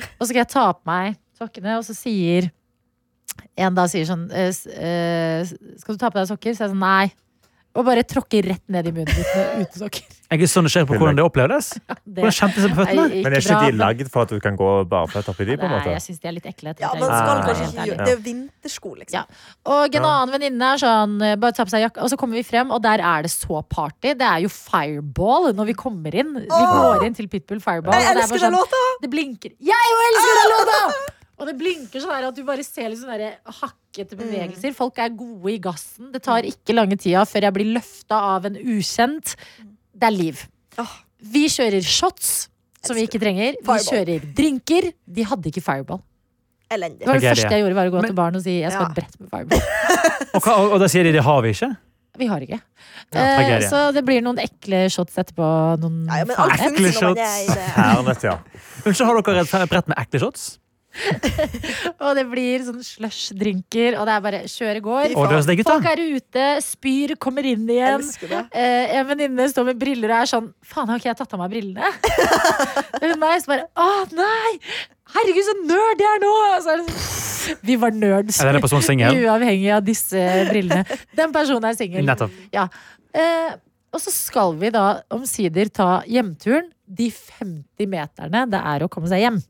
Speaker 2: Og så skal jeg ta på meg sokkene, og så sier en da sier sånn eh, s- eh, Skal du ta på deg sokker? Så jeg sånn nei. Og bare tråkker rett ned i munnen mitt med- uten sokker.
Speaker 4: Jeg er så nysgjerrig på hvordan det opplevdes.
Speaker 2: Det
Speaker 4: Hvordan kjentes det på føttene?
Speaker 2: er
Speaker 5: Men er ikke
Speaker 2: bra,
Speaker 5: de
Speaker 2: men-
Speaker 5: lagd for at du kan gå barføtt oppi de, på en
Speaker 2: Nei,
Speaker 5: måte?
Speaker 2: jeg syns de er litt ekle.
Speaker 3: Ja,
Speaker 2: tenkte
Speaker 3: man
Speaker 2: jeg.
Speaker 3: skal
Speaker 5: Ja.
Speaker 3: kanskje
Speaker 2: Helt
Speaker 3: ikke
Speaker 2: ærlig.
Speaker 3: gjøre Det er jo vintersko, liksom.
Speaker 2: Ja. Og en annen venninne er sånn eh, Bare ta på seg jakka, og så kommer vi frem, og der er det så party. Det er jo fireball når vi kommer inn. Vi
Speaker 3: Åh!
Speaker 2: går inn til Pitbull Fireball.
Speaker 3: Jeg
Speaker 2: og det er
Speaker 3: elsker
Speaker 2: bare
Speaker 3: den låta!
Speaker 2: sånn, Det blinker. Jeg òg elsker den låta! Og det blinker sånn her at du bare ser litt sånne der hakkete
Speaker 3: Mm.
Speaker 2: bevegelser. Folk er gode i gassen. Det tar ikke lange tida før jeg blir løfta av en ukjent. Det er liv.
Speaker 3: Åh.
Speaker 2: Vi kjører shots. Som vi ikke trenger. Vi
Speaker 3: Fireball.
Speaker 2: kjører drinker. De hadde ikke fireball. Det
Speaker 3: Elendig.
Speaker 2: var det
Speaker 4: Ok,
Speaker 2: første
Speaker 4: det.
Speaker 2: jeg gjorde, var å gå
Speaker 4: Men-
Speaker 2: til baren og si jeg skal ha et
Speaker 3: Ja.
Speaker 2: brett med fireball.
Speaker 4: Og, hva- og, og da sier de det har vi ikke?
Speaker 2: Vi har ikke.
Speaker 4: Ja,
Speaker 2: eh,
Speaker 4: tragedie.
Speaker 2: så det blir noen ekle shots etterpå. Noen
Speaker 3: Ja, ja, men alt
Speaker 2: fæle.
Speaker 4: Ekle
Speaker 3: funker når man er i
Speaker 4: shots.
Speaker 3: det.
Speaker 5: Hernet, ja.
Speaker 4: Unnskyld, har dere et brett med ekle shots?
Speaker 2: Og det blir sånn slush-drinker, og det er bare kjøre går.
Speaker 3: Fy
Speaker 4: Og det er gutta.
Speaker 2: Folk er ute, spyr, kommer inn
Speaker 3: Jeg
Speaker 2: igjen.
Speaker 3: elsker det.
Speaker 2: Eh, en venninne står med briller og er sånn Faen, har ikke jeg tatt av meg brillene? Hun meg så bare Å, nei! Herregud, så nerd jeg er nå! Og Så er det sånn, vi var nerds.
Speaker 4: Eller er det på sånn singel?
Speaker 2: Uavhengig av disse brillene. Den personen er singel.
Speaker 4: Nettopp.
Speaker 2: Eh, og så skal vi da omsider ta hjemturen. De 50 meterne det er å komme seg hjem.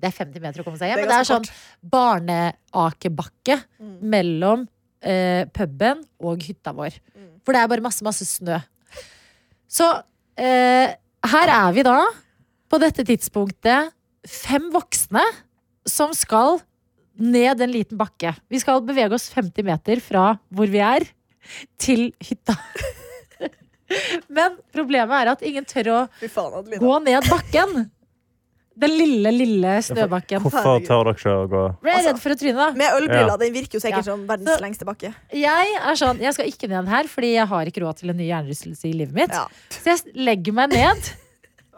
Speaker 2: Det er 50 meter å komme seg hjem.
Speaker 3: Det er
Speaker 2: Men det er
Speaker 3: ganske
Speaker 2: sånn barneakebakke
Speaker 3: Mm.
Speaker 2: mellom eh, puben og hytta vår.
Speaker 3: Mm.
Speaker 2: For det er bare masse, masse snø. Så eh, her er vi da, på dette tidspunktet, fem voksne som skal ned en liten bakke. Vi skal bevege oss 50 meter fra hvor vi er, til hytta. Men problemet er at ingen tør å
Speaker 3: Fy faen, Adelina.
Speaker 2: gå ned bakken. Den lille, lille snøbakken.
Speaker 5: Hvorfor tør dere ikke å gå
Speaker 2: Ble jeg redd for å tryne, da.
Speaker 3: Med ølbriller,
Speaker 5: Ja.
Speaker 3: den virker jo sikkert
Speaker 2: Ja.
Speaker 3: som verdens
Speaker 2: Så-
Speaker 3: lengste bakke.
Speaker 2: Jeg er sånn, jeg skal ikke ned her, fordi jeg har ikke råd til en ny hjernerystelse i livet mitt.
Speaker 3: Ja.
Speaker 2: Så jeg legger meg ned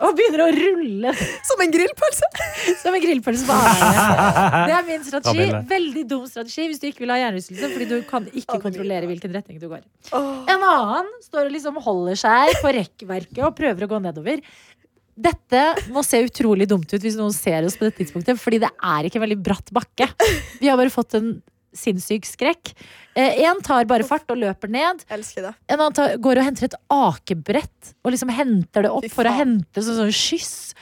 Speaker 2: og begynner å rulle
Speaker 3: Som en grillpølse!
Speaker 2: som en grillpølse på Arne. Det er min strategi.
Speaker 4: Kamille.
Speaker 2: Veldig dum strategi hvis du ikke vil ha hjernerystelse, fordi du kan ikke
Speaker 3: Kamille.
Speaker 2: kontrollere hvilken retning du går.
Speaker 3: Åh.
Speaker 2: En annen står og liksom holder seg på rekkverket og prøver å gå nedover. Dette må se utrolig dumt ut hvis noen ser oss på dette tidspunktet, fordi det er ikke en veldig bratt bakke. Vi har bare fått en sinnssyk skrekk. Eh, en tar bare fart og løper ned.
Speaker 3: Elsker det.
Speaker 2: En annen tar, går og henter et akebrett og liksom henter det opp
Speaker 3: Fy
Speaker 2: for å
Speaker 3: faen.
Speaker 2: hente sånn, sånn skyss.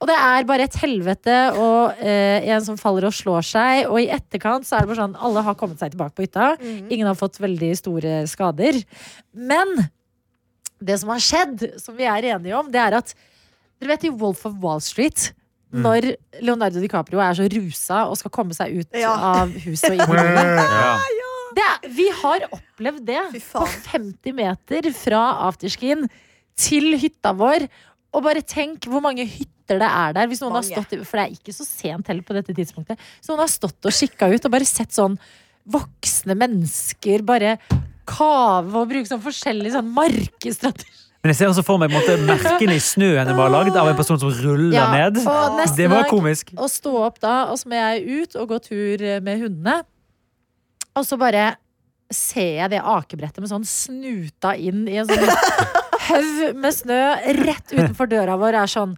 Speaker 2: Og det er bare et helvete og eh, en som faller og slår seg. Og i etterkant så er det bare sånn alle har kommet seg tilbake på hytta.
Speaker 3: Mhm.
Speaker 2: Ingen har fått veldig store skader. Men det som har skjedd, som vi er enige om, det er at Dere vet i Wolf of Wall Street når Leonardo DiCaprio er så rusa og skal komme seg ut
Speaker 3: Ja.
Speaker 2: av huset og inn i bilen.
Speaker 4: Ja.
Speaker 2: Det, er- vi har opplevd det
Speaker 3: Fy faen.
Speaker 2: på 50 meter fra afterskien til hytta vår. Og bare tenk hvor mange hytter det er der. Hvis noen har
Speaker 3: Mange.
Speaker 2: stått, for det er ikke så sent heller på dette tidspunktet. Så noen har stått og kikka ut og bare sett sånn voksne mennesker bare kave og bruke sånn forskjellig sånn markedsstrategi.
Speaker 4: Men jeg ser også for meg på en måte, merkene i snøen var lagd av en person som ruller ned.
Speaker 2: og nesten
Speaker 4: Det var
Speaker 2: har-
Speaker 4: komisk.
Speaker 2: Og stå opp da, og så må jeg ut og gå tur eh, med hundene. Og så bare ser jeg det akebrettet med sånn snuta inn i en sånn haug med snø rett utenfor døra vår. Er sånn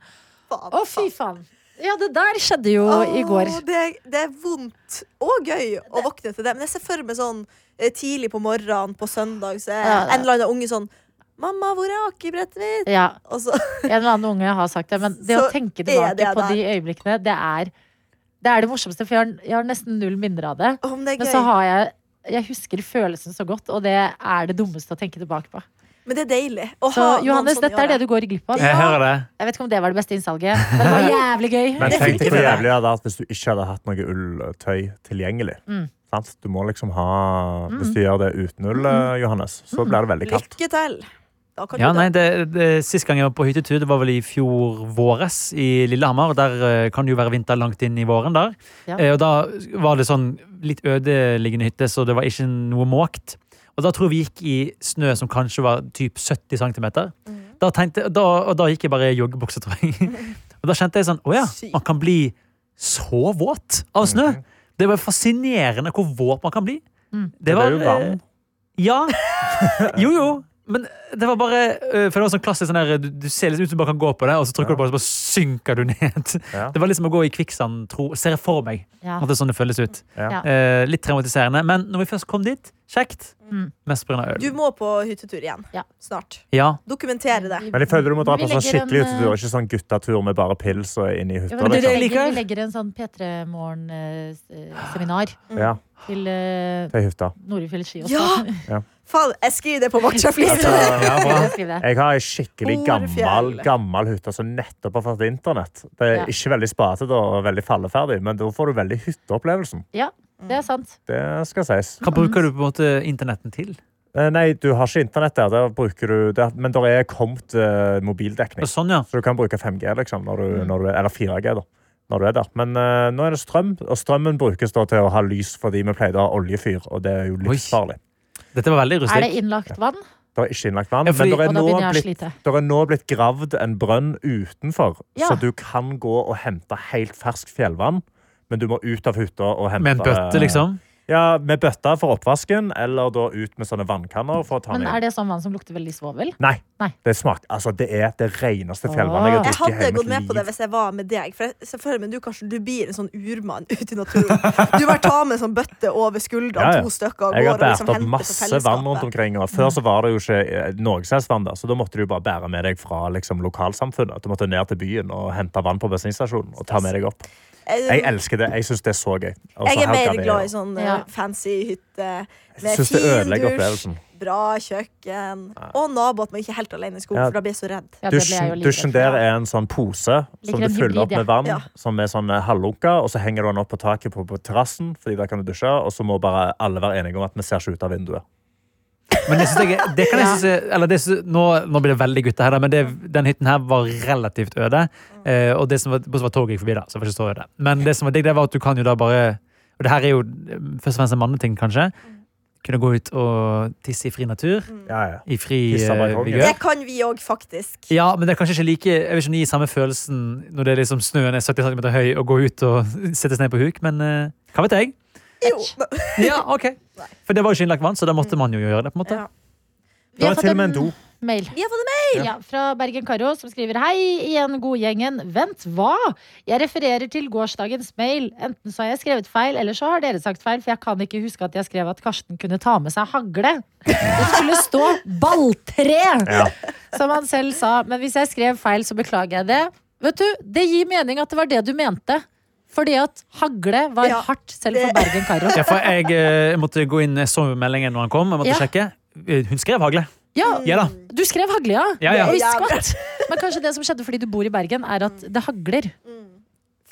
Speaker 3: Faen,
Speaker 2: Å, fy faen. Ja, det der skjedde jo i går.
Speaker 3: Åh, Det, det er vondt og gøy å våkne til det. Men jeg ser for meg sånn eh, tidlig på morgenen på søndag, så er
Speaker 2: Ja, det-
Speaker 3: en eller annen unge sånn 'Mamma, hvor er akebrettet mitt?'
Speaker 2: Ja,
Speaker 3: Og så
Speaker 2: en eller annen unge har sagt det, men det å
Speaker 3: Så
Speaker 2: tenke
Speaker 3: er
Speaker 2: tilbake
Speaker 3: det
Speaker 2: på de øyeblikkene, det er det, er det morsomste. For jeg har, jeg har nesten null minner av det.
Speaker 3: Om det er
Speaker 2: Men så
Speaker 3: gøy.
Speaker 2: har jeg Jeg husker følelsen så godt, og det er det dummeste å tenke tilbake på.
Speaker 3: Men det er deilig. Å
Speaker 2: Så
Speaker 3: ha noen
Speaker 2: Johannes,
Speaker 3: sånn i
Speaker 2: dette er det
Speaker 3: året.
Speaker 2: du går glipp av.
Speaker 4: Jeg hører det.
Speaker 2: Jeg vet ikke om det var det beste innsalget, men det var jævlig gøy.
Speaker 5: Men
Speaker 3: Det
Speaker 5: tenk
Speaker 3: funker for
Speaker 5: deg hvor
Speaker 3: meg.
Speaker 5: jævlig det hadde vært hvis du ikke hadde hatt noe ulltøy tilgjengelig.
Speaker 2: Mm.
Speaker 5: Sant? Du må liksom ha Hvis du gjør det uten ull,
Speaker 2: Mm.
Speaker 5: eh, Johannes, så blir det veldig kaldt.
Speaker 3: Lykke til. Da kan
Speaker 4: Ja,
Speaker 3: du
Speaker 4: nei,
Speaker 3: det.
Speaker 4: det, det, Sist gang jeg var på hyttetur, det var vel i fjor våres i Lillehammer. og Der eh, kan det jo være vinter langt inn i våren. der.
Speaker 2: Ja.
Speaker 4: Eh, Og Da var det sånn litt ødeliggende hytte, så det var ikke noe måkt. Og Da tror jeg vi gikk i snø som kanskje var typ 70 cm. Da tenkte, da, og da gikk jeg bare i joggebukse, tror jeg. Og da kjente jeg sånn, åja,
Speaker 3: Sykt.
Speaker 4: man kan bli så våt av snø.
Speaker 5: Mhm.
Speaker 4: Det var fascinerende hvor våt man kan bli.
Speaker 2: Mm.
Speaker 4: Det
Speaker 5: Men
Speaker 4: var,
Speaker 5: det er jo vann.
Speaker 4: eh, Ja. Jo, jo. Men det var bare eh, For det var sånn klassisk sånn der, du, du ser liksom ut som du bare kan gå på det, og så trykker du på det, og så bare synker du ned.
Speaker 5: Ja.
Speaker 4: Det var liksom å gå i kvikksand, tro, ser jeg for meg.
Speaker 2: Ja.
Speaker 4: At det er sånn det føles ut.
Speaker 5: Ja.
Speaker 4: Eh, litt traumatiserende. Men når vi først kom dit, kjekt.
Speaker 2: Mm.
Speaker 4: Mest pga.
Speaker 3: Du
Speaker 4: øl.
Speaker 3: må på hyttetur igjen
Speaker 2: Ja.
Speaker 3: snart.
Speaker 4: Ja.
Speaker 3: Dokumentere det.
Speaker 5: Men jeg føler du må dra
Speaker 2: Vi
Speaker 5: på sånn
Speaker 2: legger en, eh,
Speaker 5: skikkelig utetur, ikke sånn guttatur med bare pils og inn i
Speaker 2: Ja,
Speaker 5: hytta.
Speaker 2: men
Speaker 4: det
Speaker 2: vi,
Speaker 4: er det jeg
Speaker 5: Liksom.
Speaker 2: legger,
Speaker 4: liker.
Speaker 2: vi legger en sånn P3-morgen-seminar
Speaker 5: Ja,
Speaker 2: eh, til eh,
Speaker 5: til hytta.
Speaker 2: Norefjell ski også.
Speaker 3: Ja!
Speaker 5: Ja.
Speaker 3: Faen, jeg skriver det på Vaktsjeflis.
Speaker 5: Ja, bra.
Speaker 2: Skriv det.
Speaker 5: Jeg har ei skikkelig gammel,
Speaker 3: Horefjell.
Speaker 5: gammel hytte som nettopp har fått internett. Det er
Speaker 2: Ja.
Speaker 5: ikke veldig spatete og veldig falleferdig, men da får du veldig hytteopplevelsen.
Speaker 2: Ja, det er sant.
Speaker 5: Det skal sies.
Speaker 4: Hva bruker du på en måte internetten til?
Speaker 5: Eh, Nei, du har ikke internett der, der bruker du, der, men der er kommet eh,
Speaker 4: Og
Speaker 5: mobildekning.
Speaker 4: sånn, ja.
Speaker 5: Så du kan bruke 5G, liksom, når du,
Speaker 4: Mm.
Speaker 5: når du, eller 4G, da. Når du er der. Men eh, nå er det strøm, og strømmen brukes da til å ha lys fordi vi pleide å ha oljefyr, og det er jo livsfarlig.
Speaker 4: Dette var veldig
Speaker 2: Er det
Speaker 4: rustikk.
Speaker 2: innlagt vann?
Speaker 5: Det er ikke innlagt vann,
Speaker 4: Ja, fordi-
Speaker 5: men det
Speaker 2: Og
Speaker 5: er,
Speaker 2: da
Speaker 5: nå
Speaker 2: begynner jeg å
Speaker 5: blitt,
Speaker 2: slite.
Speaker 5: der er nå blitt gravd en brønn utenfor,
Speaker 2: Ja.
Speaker 5: så du kan gå og hente helt ferskt fjellvann. Men du må ut av hytta og hente eh,
Speaker 4: Med en bøtte, liksom.
Speaker 5: Ja, Med bøtta for oppvasken, eller da ut med sånne vannkanner. for å ta
Speaker 2: Men
Speaker 5: med.
Speaker 2: er det sånn vann som lukter veldig svovel?
Speaker 5: Nei.
Speaker 2: Nei.
Speaker 5: Det, smak, altså, det er det reneste fjellvannet
Speaker 2: Åh.
Speaker 3: Jeg
Speaker 5: jeg har drukket i
Speaker 3: hadde
Speaker 5: hele
Speaker 3: gått med
Speaker 5: mitt
Speaker 3: på det
Speaker 5: liv.
Speaker 3: hvis jeg var med deg. For jeg ser for meg, men du kanskje du blir en sånn urmann ute i naturen. Du bare tar med en sånn bøtte over skuldrene,
Speaker 5: Ja, ja.
Speaker 3: to stykker, og
Speaker 5: Jeg
Speaker 3: går
Speaker 5: har
Speaker 3: og
Speaker 5: båret
Speaker 3: liksom
Speaker 5: opp
Speaker 3: henter for
Speaker 5: masse vann rundt
Speaker 3: fellesskapet.
Speaker 5: omkring. og Før så var det jo ikke eh, noe slags vann der, så da måtte du bare bære med deg fra liksom, lokalsamfunnet. Du måtte ned til byen og hente vann på bensinstasjonen og ta med deg opp. Jeg
Speaker 3: Jeg,
Speaker 5: elsker det. Jeg syns det er så gøy. Og så
Speaker 3: jeg er
Speaker 5: helga
Speaker 3: mer
Speaker 5: det,
Speaker 3: glad i
Speaker 5: og-
Speaker 3: sånn eh,
Speaker 2: Ja.
Speaker 3: fancy hytte
Speaker 5: Jeg
Speaker 3: med
Speaker 5: syns det
Speaker 3: fin
Speaker 5: ødelegger
Speaker 3: dusj,
Speaker 5: opplevelsen.
Speaker 3: bra kjøkken og nabo at man ikke er helt alene i skogen,
Speaker 5: Ja.
Speaker 3: for da blir jeg så redd.
Speaker 2: Ja, det ble jeg jo
Speaker 5: Dusjen,
Speaker 2: livredd for.
Speaker 5: dusjen der er en sånn pose som
Speaker 2: en
Speaker 5: du fyller opp
Speaker 2: hybrid, ja.
Speaker 5: med vann,
Speaker 3: Ja.
Speaker 5: som er sånn eh, halvlunka, og så henger du den opp på taket på, på terrassen, fordi der kan du dusje, og så må bare alle være enige om at vi ser ikke ut av vinduet.
Speaker 4: Men det, synes jeg, er- det kan jeg synes, er- eller det synes, nå, nå blir det veldig gutte her, da, men det, den hytten her var relativt øde. Eh, og det som var, bortsett fra toget gikk forbi, da. Så det var ikke så øde. Men det som var digg, det var at du kan jo da bare Og det her er jo eh, først og fremst en manneting, kanskje. Kunne gå ut og tisse i fri natur.
Speaker 3: Mm.
Speaker 5: Ja, ja.
Speaker 4: I fri
Speaker 5: Tisse av
Speaker 4: eh,
Speaker 5: balkongen.
Speaker 4: vigør.
Speaker 3: Det kan vi òg, faktisk.
Speaker 4: Ja, men det er kanskje ikke like Jeg vil ikke gi samme følelsen når det er liksom snøen er 70 cm høy og gå ut og settes ned på huk, men eh, hva vet jeg?
Speaker 3: Jo.
Speaker 4: Ja, ok
Speaker 3: Nei.
Speaker 4: For det var jo ikke innlagt vann, så da måtte man jo gjøre det. på en måte
Speaker 3: Ja.
Speaker 2: Vi
Speaker 5: Det
Speaker 2: har
Speaker 5: er
Speaker 2: fått
Speaker 5: til og med en
Speaker 2: en
Speaker 5: do.
Speaker 2: mail.
Speaker 3: Vi har fått en
Speaker 2: Ja, fra Bergen Karo, som skriver Hei igjen, godgjengen. Vent, hva? Jeg refererer til gårsdagens mail. Enten så har jeg skrevet feil, eller så har dere sagt feil, for jeg kan ikke huske at jeg skrev at Karsten kunne ta med seg hagle. Det skulle stå balltre, som han selv sa. Men hvis jeg skrev feil, så beklager jeg det. Vet du, det gir mening at det var det du mente. Fordi at hagle var
Speaker 3: Ja,
Speaker 2: hardt, selv for
Speaker 3: det-
Speaker 2: Bergen Karo.
Speaker 4: Ja, for jeg eh, måtte gå inn Jeg så meldingen når han kom, jeg måtte
Speaker 2: Ja.
Speaker 4: sjekke. Eh, Hun skrev hagle.
Speaker 2: Ja,
Speaker 4: Ja da.
Speaker 2: du skrev hagle, ja.
Speaker 4: Ja, ja.
Speaker 2: Oi,
Speaker 3: Ja,
Speaker 2: skvatt. Men kanskje det som skjedde fordi du bor i Bergen, er at det hagler.
Speaker 3: Mm.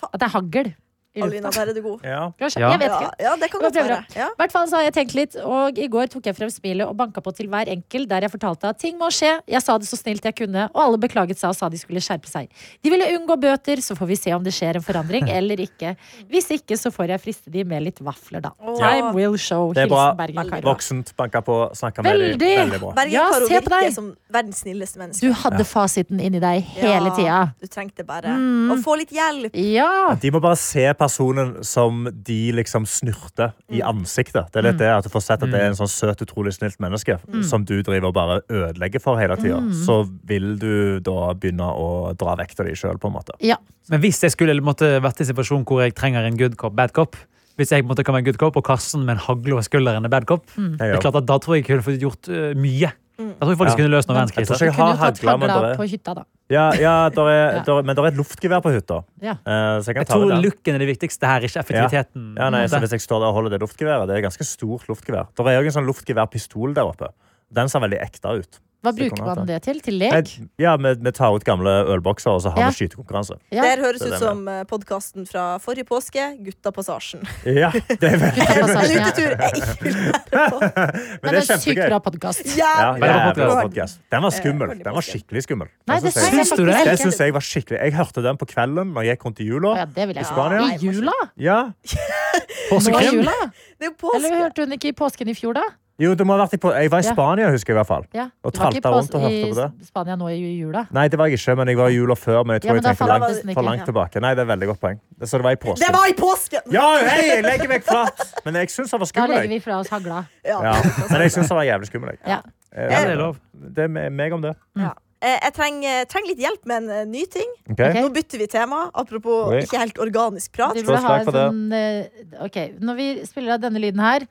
Speaker 3: Fa-
Speaker 2: At det er hagl. i
Speaker 3: Alina,
Speaker 2: lufta.
Speaker 3: der er du god.
Speaker 5: Ja.
Speaker 2: Kanskje,
Speaker 4: Ja.
Speaker 2: Jeg vet
Speaker 3: Ja,
Speaker 2: ikke.
Speaker 3: ja, det kan
Speaker 2: Jeg
Speaker 3: godt
Speaker 2: prøver
Speaker 3: være.
Speaker 2: å-
Speaker 3: Ja.
Speaker 2: I hvert fall så har jeg tenkt litt, og i går tok jeg frem smilet og banka på til hver enkel der jeg fortalte at ting må skje, jeg sa det så snilt jeg kunne, og alle beklaget seg og sa de skulle skjerpe seg. De ville unngå bøter, så får vi se om det skjer en forandring eller ikke. Hvis ikke, så får jeg friste de med litt vafler, da.
Speaker 3: Åh.
Speaker 2: Time will show.
Speaker 5: Det er
Speaker 2: Hilsen
Speaker 5: bra.
Speaker 2: Bergen Karo.
Speaker 5: Voksent, banka på, snakka med dem.
Speaker 2: Veldig.
Speaker 5: Veldig bra.
Speaker 3: Bergen
Speaker 2: Ja,
Speaker 3: Karo
Speaker 2: se på
Speaker 3: virker
Speaker 2: deg.
Speaker 3: som verdens snilleste menneske.
Speaker 2: Du hadde fasiten inni deg hele Mm.
Speaker 3: Ja,
Speaker 2: tida.
Speaker 3: Du trengte bare å få litt hjelp.
Speaker 2: Ja.
Speaker 5: De må bare se personen som de liksom snurter i
Speaker 2: Mm.
Speaker 5: ansiktet. Det er litt det at du får sett at det er en sånn søt, utrolig snilt menneske
Speaker 2: Mm.
Speaker 5: som du driver og bare ødelegger for hele tida. Så vil du da begynne å dra vekk av deg sjøl, på en måte.
Speaker 2: ja.
Speaker 4: Men hvis jeg skulle måtte vært i en situasjon hvor jeg trenger en good cop, bad cop hvis jeg på en måte kan være en good cop, og Karsten med en hagle over skulderen er bad cop, det
Speaker 5: Ja.
Speaker 4: er klart at da tror jeg jeg kunne fått gjort eh, mye. Da tror jeg faktisk
Speaker 5: Ja.
Speaker 4: kunne løst noen
Speaker 5: Jeg tror
Speaker 4: verdenskriser.
Speaker 5: ikke jeg
Speaker 2: Kunne
Speaker 5: har
Speaker 2: jo tatt
Speaker 5: hagla, men
Speaker 2: hagla
Speaker 5: det er,
Speaker 2: på hytta, da.
Speaker 5: ja, ja, der er,
Speaker 2: Ja.
Speaker 5: der, men det er et luftgevær på hytta.
Speaker 2: Ja.
Speaker 5: Eh, Så jeg Mm. kan
Speaker 4: Jeg
Speaker 5: ta
Speaker 4: tror
Speaker 5: det der.
Speaker 4: looken er det viktigste her, ikke effektiviteten.
Speaker 5: Ja, nei, så
Speaker 4: Det-
Speaker 5: hvis jeg står der og holder det luftgeværet, det er et ganske stort luftgevær. Der er òg en sånn luftgeværpistol der oppe. Den ser veldig ekte ut.
Speaker 2: Hva
Speaker 5: Så jeg
Speaker 2: bruker
Speaker 5: kunne hatt
Speaker 2: man
Speaker 5: den.
Speaker 2: det til? Til lek?
Speaker 5: Jeg- Ja, vi, vi tar ut gamle ølbokser, og så har
Speaker 2: Ja.
Speaker 5: vi skytekonkurranse.
Speaker 2: Ja.
Speaker 3: Der høres
Speaker 5: Det er
Speaker 3: ut
Speaker 5: det
Speaker 3: som podkasten fra forrige påske, Gutta Passasjen.
Speaker 5: Ja, det er veldig
Speaker 3: En
Speaker 2: Guttapassasjen, ja.
Speaker 3: utetur jeg ikke vil være på.
Speaker 5: Men det er
Speaker 2: sykt
Speaker 5: kjempegøy.
Speaker 2: bra podkast.
Speaker 5: Ja,
Speaker 3: Jævlig
Speaker 5: jævla
Speaker 4: podcast.
Speaker 5: bra
Speaker 3: bra.
Speaker 5: podcast. Den var skummel.
Speaker 3: Eh,
Speaker 5: Den var skikkelig skummel.
Speaker 2: Nei,
Speaker 5: Den
Speaker 2: det sa
Speaker 5: synes
Speaker 2: jeg
Speaker 5: jeg,
Speaker 4: Syns du det?
Speaker 2: faktisk
Speaker 5: det
Speaker 2: ikke.
Speaker 5: synes jeg var skikkelig Jeg hørte den på kvelden når jeg gikk rundt i
Speaker 2: Å Ja,
Speaker 5: jula.
Speaker 2: det vil jeg.
Speaker 5: I
Speaker 2: ikke.
Speaker 5: Spania?
Speaker 2: I jula?
Speaker 5: Ja,
Speaker 2: Nå i
Speaker 4: Påskekrim?
Speaker 2: jula?
Speaker 3: Det er jo
Speaker 2: Eller
Speaker 3: påske.
Speaker 2: hørte hun ikke i påsken i fjor, da?
Speaker 5: Jo, det må ha vært i, på- jeg var i
Speaker 2: Ja.
Speaker 5: Spania, husker jeg i hvert fall.
Speaker 2: Ja.
Speaker 5: Og
Speaker 2: Du var ikke
Speaker 5: tralta
Speaker 2: på-
Speaker 5: rundt og hørte på
Speaker 2: I Spania nå i jula.
Speaker 5: Nei, det var jeg ikke, men jeg var i jula før. Men jeg
Speaker 2: Ja,
Speaker 5: tror
Speaker 2: men da
Speaker 5: jeg tenkte
Speaker 2: fantes
Speaker 5: langt,
Speaker 2: den ikke.
Speaker 5: for langt
Speaker 2: Ja.
Speaker 5: tilbake. Nei, det er et veldig godt poeng. Så det var i påsken.
Speaker 3: Det var i påsken!
Speaker 5: Ja, hei, jeg legger meg flatt! Men jeg syns han var
Speaker 2: Da
Speaker 5: skummel.
Speaker 2: legger
Speaker 5: jeg.
Speaker 2: vi fra oss hagla.
Speaker 3: Ja.
Speaker 5: Ja. Men jeg syns han var jævlig skummel. jeg.
Speaker 2: Ja.
Speaker 5: Eh,
Speaker 4: Ja, det er lov.
Speaker 5: Det er me- meg om det.
Speaker 2: Mm.
Speaker 3: Ja. Eh, Jeg trenger, trenger litt hjelp med en eh, ny ting.
Speaker 5: Ok?
Speaker 2: Ok.
Speaker 3: Nå bytter vi tema. Apropos
Speaker 5: Oi.
Speaker 3: ikke helt organisk prat.
Speaker 2: De
Speaker 5: slå
Speaker 2: burde
Speaker 5: et
Speaker 2: ha
Speaker 5: slag
Speaker 2: en
Speaker 5: for det.
Speaker 2: sånn eh, OK, når vi spiller av denne lyden her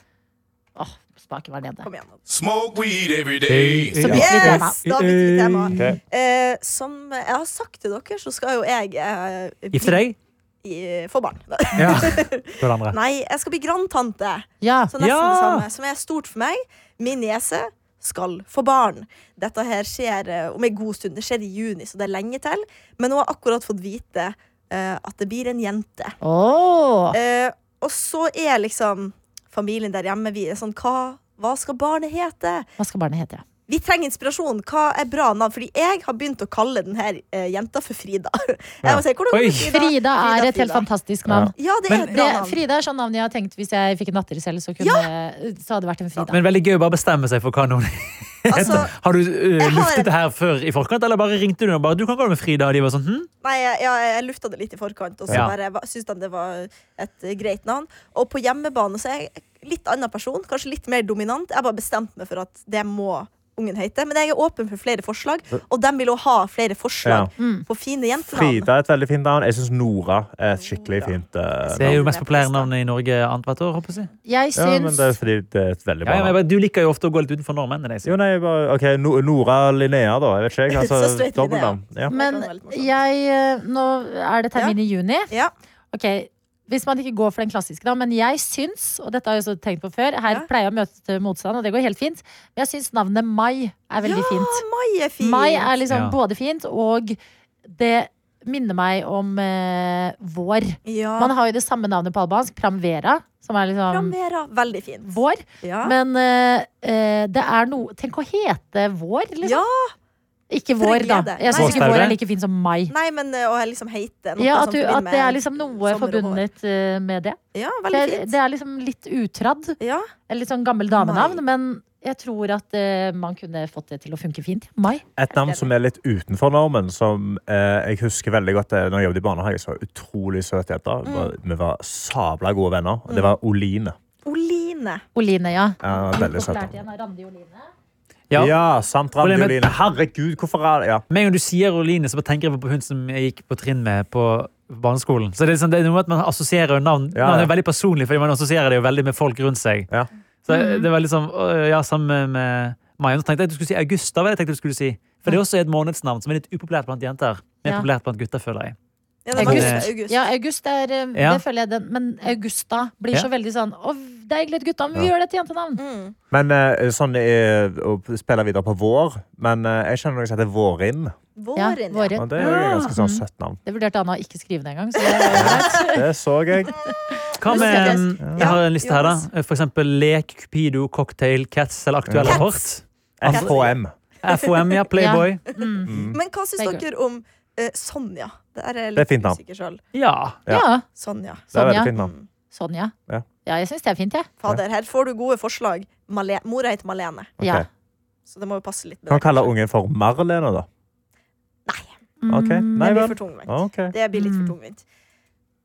Speaker 2: Åh, spaken var nede.
Speaker 3: Kom igjen. nå.
Speaker 6: Smoke weed every day.
Speaker 2: Så
Speaker 4: Ja.
Speaker 2: bytter vi tema.
Speaker 3: Yes, da bytter vi tema.
Speaker 5: Ok.
Speaker 3: Eh, som jeg har sagt til dere, så skal jo jeg eh, bli-
Speaker 4: Gifte deg?
Speaker 3: i- Få barn.
Speaker 4: Ja. Du er den andre.
Speaker 3: Nei, jeg skal bli grandtante.
Speaker 2: Ja.
Speaker 3: Så nesten det
Speaker 4: Ja!
Speaker 3: samme. Som er stort for meg. Min niese skal få barn. Dette her skjer eh, om en god stund. Det skjer i juni, så det er lenge til. Men hun har akkurat fått vite eh, at det blir en jente.
Speaker 2: Åh.
Speaker 3: Eh, og så er liksom familien der hjemme vi er sånn hva, hva skal barnet hete?
Speaker 2: Hva skal barnet hete? ja?
Speaker 3: Vi trenger inspirasjon. Hva er bra navn? Fordi jeg har begynt å kalle denne jenta for Frida. Jeg må si, hvordan går
Speaker 4: Oi.
Speaker 3: det, Frida?
Speaker 2: Frida er et helt
Speaker 3: Frida.
Speaker 2: fantastisk navn.
Speaker 3: Ja, det er
Speaker 4: Men-
Speaker 3: et
Speaker 2: Det,
Speaker 3: bra navn.
Speaker 2: Frida er sånn navn jeg har tenkt hvis jeg fikk en datter selv, så, kunne, så hadde det vært en Frida.
Speaker 4: Men veldig gøy å bare bestemme seg for hva noen
Speaker 3: Altså,
Speaker 4: Har du eh,
Speaker 3: har-
Speaker 4: luftet det her før i forkant, eller bare ringte du og bare 'Du kan gå med Frida', og de var sånn hm?
Speaker 3: Nei, jeg, ja, jeg lufta det litt i forkant, og så
Speaker 4: Ja.
Speaker 3: bare va- syntes de det var et eh, greit navn. Og på hjemmebane så er jeg litt annen person, kanskje litt mer dominant. Jeg bare bestemte meg for at det må ungen hete. Men jeg er åpen for flere forslag, og de vil jo ha flere forslag
Speaker 2: Mm.
Speaker 3: på fine jentenavn.
Speaker 5: Frida er et veldig fint navn. Jeg syns Nora er et skikkelig fint eh,
Speaker 4: Det er
Speaker 5: navn.
Speaker 4: jo mest populære navnet i Norge annethvert år, håper jeg. å si.
Speaker 2: Jeg
Speaker 5: Ja, men
Speaker 2: syns
Speaker 5: det er fordi det er et veldig
Speaker 4: Ja,
Speaker 5: bra
Speaker 4: ja, men
Speaker 5: navn.
Speaker 4: bare- du liker jo ofte å gå litt utenfor normen. Det er det jeg sier.
Speaker 5: Jo, nei, bare, ok, No- Nora Linnea, da. Jeg vet ikke, jeg.
Speaker 3: Så
Speaker 5: Altså,
Speaker 3: straight
Speaker 5: Dobbeltnavn. Ja.
Speaker 2: Men
Speaker 3: Det kan være litt morsomt.
Speaker 2: jeg eh, Nå er det termin i juni.
Speaker 3: Ja.
Speaker 2: Ok, Hvis man ikke går for den klassiske, da. Men jeg syns, og dette har jeg også tenkt på før, her
Speaker 3: Ja.
Speaker 2: pleier jeg å møte motstand, og det går helt fint, men jeg syns navnet Mai er veldig
Speaker 3: Ja,
Speaker 2: fint.
Speaker 3: Mai er fin.
Speaker 2: Mai er liksom
Speaker 4: Ja.
Speaker 2: både fint, og det minner meg om eh, vår.
Speaker 3: ja.
Speaker 2: Man har jo det samme navnet på albansk, Pramvera, som er liksom
Speaker 3: Pramvera, veldig fin.
Speaker 2: vår.
Speaker 3: Ja.
Speaker 2: Men eh, eh, det er noe Tenk å hete vår, liksom.
Speaker 3: ja.
Speaker 2: Ikke vår, da.
Speaker 3: glede.
Speaker 2: Jeg syns
Speaker 4: Nei.
Speaker 2: ikke vår er like fin som mai.
Speaker 3: Nei, men eh, å liksom hete noe
Speaker 2: Ja,
Speaker 3: som
Speaker 2: at, du, at
Speaker 3: forbinder
Speaker 2: det er
Speaker 3: med
Speaker 2: liksom noe
Speaker 3: sommer og vår.
Speaker 2: forbundet eh, med det.
Speaker 3: Ja,
Speaker 2: Det
Speaker 3: veldig
Speaker 2: er,
Speaker 3: fint.
Speaker 2: det er liksom litt utradd.
Speaker 3: Ja.
Speaker 2: et Litt sånn gammel damenavn. Men jeg tror at eh, man kunne fått det til å funke fint. Mai.
Speaker 5: Et navn som er litt utenfor normen, som eh, jeg husker veldig godt eh, når jeg jobbet i barnehage. Så var jeg utrolig søt jente. Vi var- Vi var sabla gode venner. og Det var Oline.
Speaker 3: Oline.
Speaker 2: Oline, ja.
Speaker 5: Ja, veldig søt.
Speaker 2: Populært
Speaker 5: da.
Speaker 2: igjen av Randi Oline.
Speaker 4: Ja.
Speaker 5: Ja, samt Randi
Speaker 4: Problemet-
Speaker 5: Oline. Herregud, hvorfor er det ja.
Speaker 4: Med en gang du sier Oline, så bare tenker jeg på hun som jeg gikk på trinn med på barneskolen. Så det er, sånn, det er noe at man assosierer navn.
Speaker 5: Ja,
Speaker 4: Navn
Speaker 5: ja.
Speaker 4: er veldig personlig, fordi man assosierer det jo veldig med folk rundt seg.
Speaker 5: Ja.
Speaker 4: Så det var liksom, øh, ja, sammen med Maja. Så tenkte jeg at du skulle si Augusta. hva er det jeg tenkte du skulle si? For det er også et månedsnavn som er litt upopulært blant jenter. Mer
Speaker 2: Ja.
Speaker 4: populært blant gutter, føler jeg.
Speaker 3: Ja, det var
Speaker 2: August.
Speaker 3: August. August.
Speaker 2: Ja, August er eh,
Speaker 4: Ja.
Speaker 2: Det føler jeg den. Men Augusta blir
Speaker 4: Ja.
Speaker 2: så veldig sånn Å, det er egentlig et guttenavn, men vi gjør det til jentenavn.
Speaker 3: Mm.
Speaker 5: Men eh, sånn er å spille videre på vår. Men eh, jeg kjenner noe som heter Vårin.
Speaker 2: Ja,
Speaker 3: Våren, ja.
Speaker 2: våren.
Speaker 5: Og det er jo et ganske sånn søtt navn.
Speaker 2: Det vurderte Anna å ikke skrive det engang. Så det var jo greit.
Speaker 5: Det så jeg.
Speaker 4: Hva med, øh, jeg har en liste her,
Speaker 3: Jonas.
Speaker 4: da. Eh, For eksempel Lek, Cupido, Cocktail, Cats eller Aktuell
Speaker 5: Cats.
Speaker 4: rapport.
Speaker 5: FHM.
Speaker 4: FOM, ja. Playboy.
Speaker 2: Mm.
Speaker 5: Mm.
Speaker 3: Men hva syns
Speaker 2: Det er
Speaker 3: dere om eh, Sonja? Det er, jeg
Speaker 5: Det er
Speaker 3: litt
Speaker 5: fint navn.
Speaker 3: usikker selv.
Speaker 4: Ja.
Speaker 5: Ja.
Speaker 2: Ja,
Speaker 3: Sonja. Mm.
Speaker 5: Det er
Speaker 2: Sonja.
Speaker 5: veldig fint navn.
Speaker 2: Sonja.
Speaker 5: Ja.
Speaker 2: Ja, jeg syns det er fint, jeg.
Speaker 3: Fader, her får du gode forslag. Male Mora heter Malene,
Speaker 5: Ok.
Speaker 2: Ja.
Speaker 3: så det må jo passe litt. med
Speaker 5: Kan man
Speaker 3: det,
Speaker 5: kalle
Speaker 3: kanskje.
Speaker 5: ungen for Marlene, da? Ok, Nei
Speaker 3: Det blir
Speaker 5: vel.
Speaker 3: for tungvint.
Speaker 5: Ah, Ok.
Speaker 3: Det blir litt
Speaker 2: Mm.
Speaker 3: for tungvint.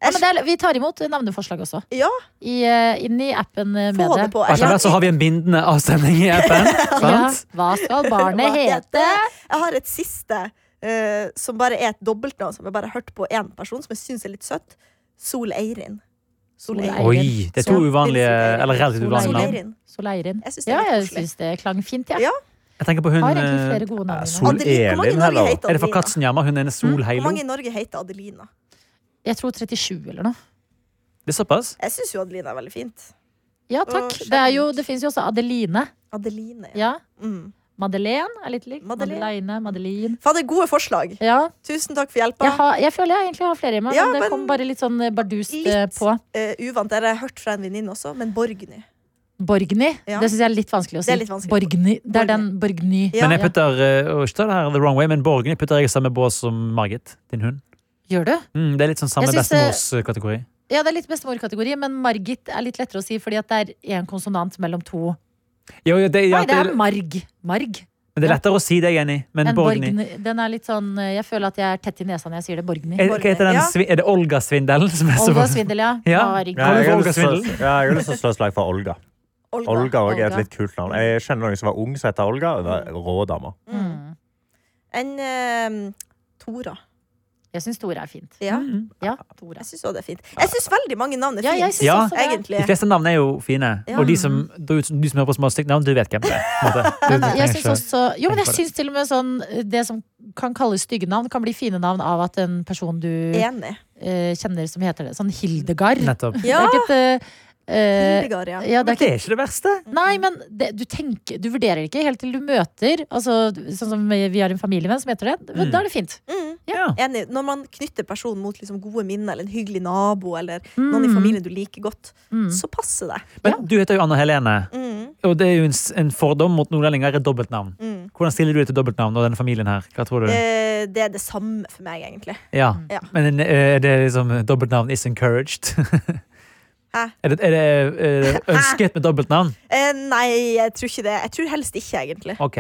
Speaker 2: Ja, men det er, vi tar imot navneforslag også.
Speaker 3: Ja.
Speaker 2: I, eh, inn i appen eh, med
Speaker 3: Få det
Speaker 2: det.
Speaker 3: på.
Speaker 4: Og etter hvert så har
Speaker 3: Jeg,
Speaker 4: vi en bindende avstemning i appen.
Speaker 2: Ja.
Speaker 4: Sant?
Speaker 2: Hva skal barnet
Speaker 3: Hva
Speaker 2: hete?
Speaker 3: heter? jeg har et siste eh, som bare er et dobbeltnavn, som jeg bare har hørt på én person, som jeg syns er litt søtt. Sol Eirin. Sol
Speaker 2: Sol
Speaker 3: Eirin.
Speaker 4: Oi, det er to
Speaker 3: Sol-
Speaker 4: uvanlige, eller relativt uvanlige
Speaker 3: Sol
Speaker 4: navn.
Speaker 3: Eirin.
Speaker 2: Soleirin.
Speaker 3: Jeg syns det er
Speaker 2: Ja,
Speaker 3: litt
Speaker 2: jeg
Speaker 3: koselig.
Speaker 2: syns det klang fint, jeg.
Speaker 3: Ja.
Speaker 4: Jeg tenker på hun
Speaker 2: Har egentlig
Speaker 4: eh,
Speaker 2: flere gode navn.
Speaker 5: Sol-
Speaker 2: Ina.
Speaker 3: Adeline, hvor mange i
Speaker 5: Elin,
Speaker 3: Norge
Speaker 5: hello.
Speaker 3: heter
Speaker 4: Er det fra
Speaker 3: Adelina?
Speaker 4: Katzenjammer? Hun ene Sol
Speaker 3: Hvor
Speaker 4: Heilo?
Speaker 3: mange i Norge heter Adelina?
Speaker 2: Jeg tror 37 eller noe.
Speaker 4: Det er såpass?
Speaker 3: Jeg syns jo Adelina er veldig fint.
Speaker 2: Ja, takk.
Speaker 3: Å,
Speaker 2: Det, er jo,
Speaker 3: skjønt.
Speaker 2: det fins jo også Adeline.
Speaker 3: Adeline, ja.
Speaker 2: Ja.
Speaker 3: Mm.
Speaker 2: Madeleine er litt lik.
Speaker 3: Madeleine.
Speaker 2: Madeleine, Madeline.
Speaker 3: Fader, gode forslag.
Speaker 2: Ja.
Speaker 3: Tusen takk for hjelpa.
Speaker 2: Jeg, har, jeg føler jeg egentlig har flere i meg,
Speaker 3: Ja,
Speaker 2: men det
Speaker 3: men
Speaker 2: kom bare litt sånn eh, bardust eh,
Speaker 3: litt.
Speaker 2: på.
Speaker 3: Eh, uvant. Det har jeg hørt fra en venninne også, men Borgny.
Speaker 2: Borgny.
Speaker 3: Ja.
Speaker 2: Det syns jeg er litt vanskelig å si.
Speaker 3: Det er litt vanskelig.
Speaker 2: Borgny. Det er den Borgny.
Speaker 3: Ja.
Speaker 4: Men jeg putter eh, og ikke ta det her the wrong way, men Borgen jeg putter jeg i samme bås som Margit, din hund.
Speaker 2: Gjør du?
Speaker 4: Mm, det er litt sånn samme
Speaker 2: Jeg synes, eh,
Speaker 4: bestemorskategori.
Speaker 2: Ja, det er litt bestemorkategori, men Margit er litt lettere å si fordi at det er én konsonant mellom to
Speaker 4: Jo, jo, det, ja,
Speaker 2: Nei, det er
Speaker 4: det,
Speaker 2: marg. Marg.
Speaker 4: men det er lettere å si det, Jenny. Men
Speaker 2: En
Speaker 4: Borgny
Speaker 2: borgny. Den er litt sånn eh, Jeg føler at jeg er tett i nesa når jeg sier det. Borgny.
Speaker 4: er, Hva heter den?
Speaker 3: Ja.
Speaker 4: svi- Er det Olga-svindelen? som er så-
Speaker 2: Olga Svindel, ja.
Speaker 4: Ja.
Speaker 2: Marg.
Speaker 4: Ja, jeg-
Speaker 5: har
Speaker 4: Olga
Speaker 5: lyst til å-
Speaker 4: Svindel?
Speaker 5: ja, jeg har lyst til å slå et slag for Olga.
Speaker 3: Olga.
Speaker 5: Olga også er
Speaker 2: Olga.
Speaker 5: et litt kult navn. Jeg kjenner noen som var ung som heter Olga. og det var Rå dame.
Speaker 2: Mm.
Speaker 3: Enn eh, Tora.
Speaker 2: Jeg syns Tore er fint.
Speaker 3: Ja,
Speaker 4: Mm.
Speaker 2: Ja, Tore.
Speaker 3: jeg syns også det er fint. Jeg syns veldig mange navn er
Speaker 2: Ja, jeg
Speaker 3: fint,
Speaker 2: syns
Speaker 4: Ja,
Speaker 2: også det.
Speaker 3: egentlig.
Speaker 4: De fleste navn er jo fine.
Speaker 3: Ja.
Speaker 4: Og de som, du, du som hører på som har stygt navn, du vet hvem det er. på en måte. Du
Speaker 2: Men jeg
Speaker 4: trenger
Speaker 2: syns
Speaker 4: ikke-
Speaker 2: også Jo, men
Speaker 4: tenk
Speaker 2: jeg
Speaker 4: på det.
Speaker 2: syns til og med sånn Det som kan kalles stygge navn, kan bli fine navn av at en person du
Speaker 3: Enig.
Speaker 2: eh, kjenner som heter det. Sånn Hildegard.
Speaker 4: Nettopp.
Speaker 2: Det
Speaker 3: Ja,
Speaker 2: er ikke et eh, eh,
Speaker 3: Hildegard,
Speaker 2: ja,
Speaker 3: ja.
Speaker 2: det er
Speaker 4: Men det
Speaker 2: ikke,
Speaker 4: er ikke det verste.
Speaker 2: nei, men det, du tenker Du vurderer det ikke helt til du møter altså, Sånn som vi vi har en familievenn som heter det.
Speaker 4: Mm.
Speaker 2: Da er det fint.
Speaker 3: Mm.
Speaker 4: Ja.
Speaker 3: Enig. Når man knytter personen mot liksom gode minner eller en hyggelig nabo eller noen i familien du liker godt,
Speaker 2: Mm.
Speaker 3: så passer det.
Speaker 4: Men du heter jo Anna Helene,
Speaker 3: Mm.
Speaker 4: og det er jo en, s- en fordom mot nordlendinger er dobbeltnavn.
Speaker 3: Mm.
Speaker 4: Hvordan stiller du deg til dobbeltnavn og denne familien her? Hva tror du?
Speaker 3: Eh, det er det samme for meg, egentlig.
Speaker 4: Ja.
Speaker 3: ja.
Speaker 4: Men eh, er det liksom dobbeltnavn is encouraged?
Speaker 3: Hæ?
Speaker 4: Er det, er det, er det ønsket med dobbeltnavn?
Speaker 3: Eh, nei, jeg tror ikke det. Jeg tror helst ikke, egentlig.
Speaker 4: Ok.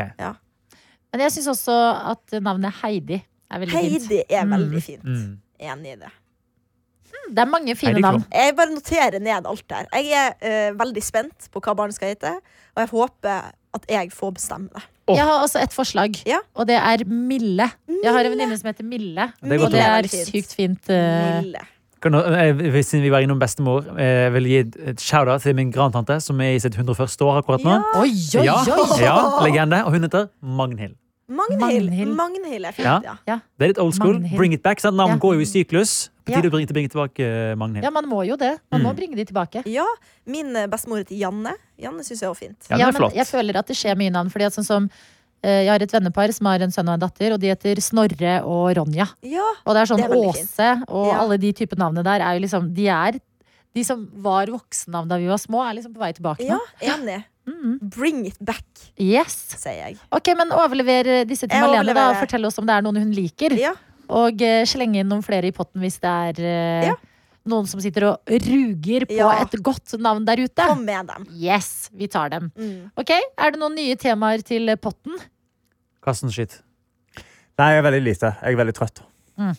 Speaker 2: Men jeg syns også at navnet Heidi er veldig fint.
Speaker 3: Heidi er veldig fint.
Speaker 4: Mm.
Speaker 3: Enig i det.
Speaker 2: Det er mange fine
Speaker 4: Heidi Klum.
Speaker 2: navn.
Speaker 3: Jeg bare noterer ned alt der. Jeg er eh, veldig spent på hva barnet skal hete, og jeg håper at jeg får bestemme det.
Speaker 4: Åh.
Speaker 2: Jeg har også et forslag,
Speaker 3: Ja.
Speaker 2: og det er Mille. Jeg har en venninne som heter Mille,
Speaker 4: Det er
Speaker 2: og
Speaker 4: godt
Speaker 2: det er
Speaker 3: ord.
Speaker 2: sykt fint. eh,
Speaker 3: Mille.
Speaker 4: Kan, du- eh, hvis- siden vi var innom bestemor, eh, jeg vil gi et- et shout-out til min grandtante som er i sitt 101. år akkurat nå.
Speaker 2: Oi, oi,
Speaker 4: Ja,
Speaker 2: oi!
Speaker 4: ja, legende. Og hun heter Magnhild.
Speaker 3: Magnhild.
Speaker 2: Magnhild.
Speaker 3: Magnhild er
Speaker 4: Ja.
Speaker 3: fint, ja.
Speaker 2: Ja.
Speaker 4: Det er litt old school.
Speaker 2: Magnhild.
Speaker 4: Bring it back. Sant? Navn
Speaker 2: Ja.
Speaker 4: går jo i syklus. På
Speaker 2: Ja.
Speaker 4: tide å bringe, bringe tilbake eh, Magnhild.
Speaker 2: ja, man må jo det. Man må
Speaker 4: Mm.
Speaker 2: bringe de tilbake.
Speaker 3: Ja, min eh, bestemor heter Janne. Janne syns jeg er fint.
Speaker 4: Ja, den
Speaker 2: Ja,
Speaker 4: er
Speaker 2: men
Speaker 4: flott.
Speaker 2: jeg føler at det skjer mye navn. Fordi at sånn som eh, Jeg har et vennepar som har en sønn og en datter, og de heter Snorre og Ronja.
Speaker 3: Ja,
Speaker 2: Og det er sånn
Speaker 3: Det er veldig fint.
Speaker 2: Åse og
Speaker 3: Ja.
Speaker 2: alle de type navnene der er jo liksom De er de som var voksennavn da vi var små, er liksom på vei tilbake nå.
Speaker 3: ja enig.
Speaker 2: Mm.
Speaker 3: Bring it back,
Speaker 2: Yes.
Speaker 3: sier jeg.
Speaker 2: Ok, men overlever eh, disse til
Speaker 3: Jeg
Speaker 2: Malene, da. Og
Speaker 3: overleverer.
Speaker 2: fortell oss om det er noen hun liker.
Speaker 3: Ja.
Speaker 2: Og eh, slenge inn noen flere i potten hvis det er eh,
Speaker 3: Ja.
Speaker 2: noen som sitter og ruger på
Speaker 3: Ja.
Speaker 2: et godt navn der ute.
Speaker 3: Kom med dem.
Speaker 2: Yes, vi tar dem.
Speaker 3: Mm.
Speaker 2: Ok, Er det noen nye temaer til potten?
Speaker 4: Karsten Skytt.
Speaker 5: Nei, jeg er veldig lite. Jeg er veldig trøtt.
Speaker 2: Mm.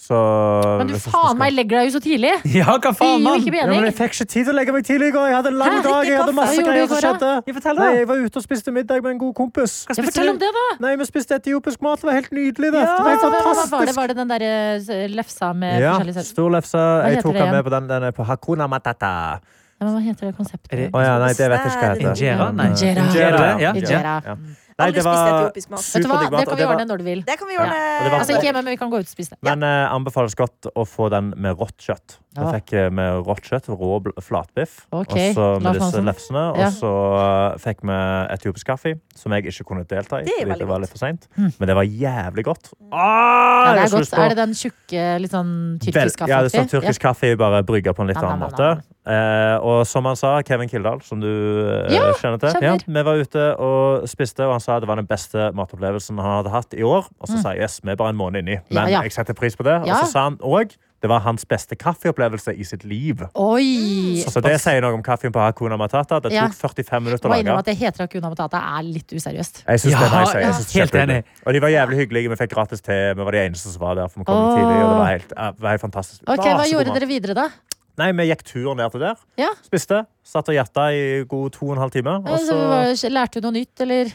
Speaker 5: Så
Speaker 2: Men du
Speaker 5: hvis jeg skal-
Speaker 2: faen meg legger deg jo så tidlig!
Speaker 4: Ja, hva
Speaker 2: Det gir jo
Speaker 4: faen, mann?
Speaker 2: ikke
Speaker 5: ja, men Jeg
Speaker 2: mening.
Speaker 5: fikk ikke tid til å legge meg tidlig i går. Jeg hadde en lang
Speaker 2: Hæ?
Speaker 5: dag. Jeg hadde
Speaker 3: Drikke
Speaker 5: masse
Speaker 2: kaffe. Hva
Speaker 5: greier
Speaker 2: gjorde du i går,
Speaker 5: som skjedde.
Speaker 4: Ja, fortell, da.
Speaker 5: Nei, jeg var ute og spiste middag med en god kompis.
Speaker 2: Ja, fortell om det, da!
Speaker 5: Nei, vi spiste etiopisk mat. Det var helt nydelig. Det, det
Speaker 2: Hva, hva,
Speaker 5: var
Speaker 2: hva var, det?
Speaker 5: fantastisk.
Speaker 2: var det den derre eh, lefsa med
Speaker 5: Ja,
Speaker 2: forskjellig saus?
Speaker 5: stor lefse. Jeg
Speaker 2: heter
Speaker 5: tok
Speaker 2: det
Speaker 5: den med
Speaker 2: igjen?
Speaker 5: på den. Den er på Hakuna Matata.
Speaker 2: Ja, men hva heter det konseptet?
Speaker 4: Er det-
Speaker 5: Å ja, nei, det vet jeg ikke hva heter. Mm.
Speaker 4: Injera? Nei.
Speaker 2: Injera.
Speaker 5: ja.
Speaker 2: Injera. Mm.
Speaker 5: Ja. Nei,
Speaker 3: Alle
Speaker 5: det
Speaker 3: spiste
Speaker 5: var
Speaker 3: etiopisk mat.
Speaker 2: Vet du hva,
Speaker 5: superdigg
Speaker 2: det
Speaker 5: mat. og
Speaker 2: kan vi
Speaker 5: det var-
Speaker 2: ordne når du vil.
Speaker 3: Det kan vi gjøre.
Speaker 5: Og det var-
Speaker 2: Altså ikke hjemme, men vi kan gå ut og spise det.
Speaker 5: Men eh, anbefales godt å få den med rått kjøtt. Den
Speaker 2: Ja.
Speaker 5: fikk jeg med rått kjøtt, rå bl- flatbiff,
Speaker 2: Ok,
Speaker 5: og så med
Speaker 2: Lars
Speaker 5: disse
Speaker 2: Hansen.
Speaker 5: lefsene.
Speaker 2: sånn. Ja.
Speaker 5: Og så eh, fikk vi etiopisk kaffe, som jeg ikke kunne delta i.
Speaker 3: Det er
Speaker 5: fordi
Speaker 3: veldig
Speaker 5: det var
Speaker 3: godt.
Speaker 5: litt for sent.
Speaker 2: Mm.
Speaker 5: Men det var jævlig godt.
Speaker 2: Ja,
Speaker 5: Ah,
Speaker 2: det
Speaker 5: jeg
Speaker 2: er,
Speaker 5: har så
Speaker 2: godt.
Speaker 5: lyst på-
Speaker 2: er det den tjukke, litt sånn
Speaker 5: Vel,
Speaker 2: tyrkisk kaffe?
Speaker 5: Ja, det er sånn
Speaker 2: oppi? Ja.
Speaker 5: tyrkisk kaffe, bare brygga på en litt
Speaker 2: Nam,
Speaker 5: annen
Speaker 2: nam,
Speaker 5: måte. Eh, og som han sa, Kevin Kildahl, som du eh,
Speaker 2: Ja,
Speaker 5: kjenner til.
Speaker 2: kjenner.
Speaker 5: vi var ute og spiste, og han sa det var den beste matopplevelsen han hadde hatt i år. Og så sa jeg yes, vi er bare en måned inni, men
Speaker 2: Mm. Ja, ja.
Speaker 5: jeg setter pris på det.
Speaker 2: Ja.
Speaker 5: Og så sa han òg det var hans beste kaffeopplevelse i sitt liv.
Speaker 2: Oi!
Speaker 5: Så det sier noe om kaffen på Hakuna Matata. Det
Speaker 2: Ja.
Speaker 5: tok 45 minutter
Speaker 2: Må
Speaker 5: å
Speaker 2: innrømme
Speaker 5: lage.
Speaker 2: at det heter Akuna Matata er litt useriøst.
Speaker 5: Jeg synes
Speaker 4: Ja,
Speaker 5: det er nice.
Speaker 4: ja.
Speaker 5: Jeg synes det er
Speaker 4: Helt
Speaker 5: kjempehyggelig.
Speaker 4: enig.
Speaker 5: Og de var jævlig hyggelige. Vi fikk gratis te. Vi var de eneste som var der. For vi kom litt
Speaker 2: Åh.
Speaker 5: tidlig, og det var helt, ja, det var helt fantastisk.
Speaker 2: Ok,
Speaker 5: Masse
Speaker 2: Hva
Speaker 5: god
Speaker 2: gjorde
Speaker 5: mat.
Speaker 2: dere videre, da?
Speaker 5: Nei, vi gikk turen ned til der.
Speaker 2: Ja.
Speaker 5: Spiste. Satt og gjetta i god to og en halv time. Og
Speaker 2: Altså,
Speaker 5: så...
Speaker 2: hva- lærte du noe nytt, eller?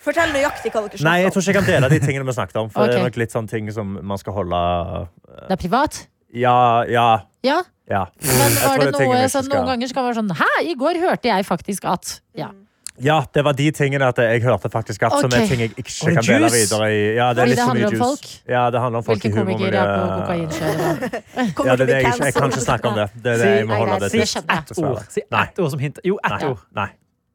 Speaker 3: Fortell nøyaktig hva dere
Speaker 5: Nei,
Speaker 3: snakker
Speaker 5: jeg tror
Speaker 3: om.
Speaker 5: ikke jeg kan dele de tingene vi snakket om. For det er
Speaker 2: Ok.
Speaker 5: nok litt sånn ting som man skal holde
Speaker 2: Det er privat?
Speaker 5: Ja, ja,
Speaker 2: Ja.
Speaker 5: ja.
Speaker 2: Men
Speaker 5: Jeg tror
Speaker 2: var
Speaker 5: det
Speaker 2: det
Speaker 5: er tingene
Speaker 2: noe
Speaker 5: jeg ikke
Speaker 2: sånn,
Speaker 5: skal-
Speaker 2: Noen ganger så kan det være sånn Hæ, i går hørte jeg faktisk at Ja.
Speaker 5: Ja, det var de tingene at jeg hørte faktisk at som er
Speaker 2: Ok.
Speaker 5: ting jeg
Speaker 4: Og
Speaker 5: ikke
Speaker 4: det
Speaker 5: kan dele
Speaker 4: juice.
Speaker 5: videre i. Ja, det er
Speaker 2: Fordi
Speaker 5: litt
Speaker 2: det
Speaker 5: så mye
Speaker 2: handler om
Speaker 5: juice.
Speaker 2: folk?
Speaker 5: Ja, det handler om folk
Speaker 2: Hvilke
Speaker 5: i humor. eh,
Speaker 2: komikere er på kokainkjøret? da?
Speaker 3: Kommer
Speaker 5: Ja,
Speaker 3: til
Speaker 5: det
Speaker 3: å
Speaker 5: er det
Speaker 3: bli
Speaker 5: jeg, ikke, jeg kan
Speaker 3: cancelled.
Speaker 5: ikke snakke om det. Det er det
Speaker 4: Si-
Speaker 5: jeg må
Speaker 2: Nei,
Speaker 5: holde
Speaker 2: nei,
Speaker 5: det
Speaker 2: det
Speaker 5: til.
Speaker 2: skjønner jeg.
Speaker 5: Dessverre.
Speaker 4: Ord. Si
Speaker 5: Nei.
Speaker 4: ett ord som hint. Jo, ett
Speaker 5: Nei.
Speaker 4: ord.
Speaker 5: Nei.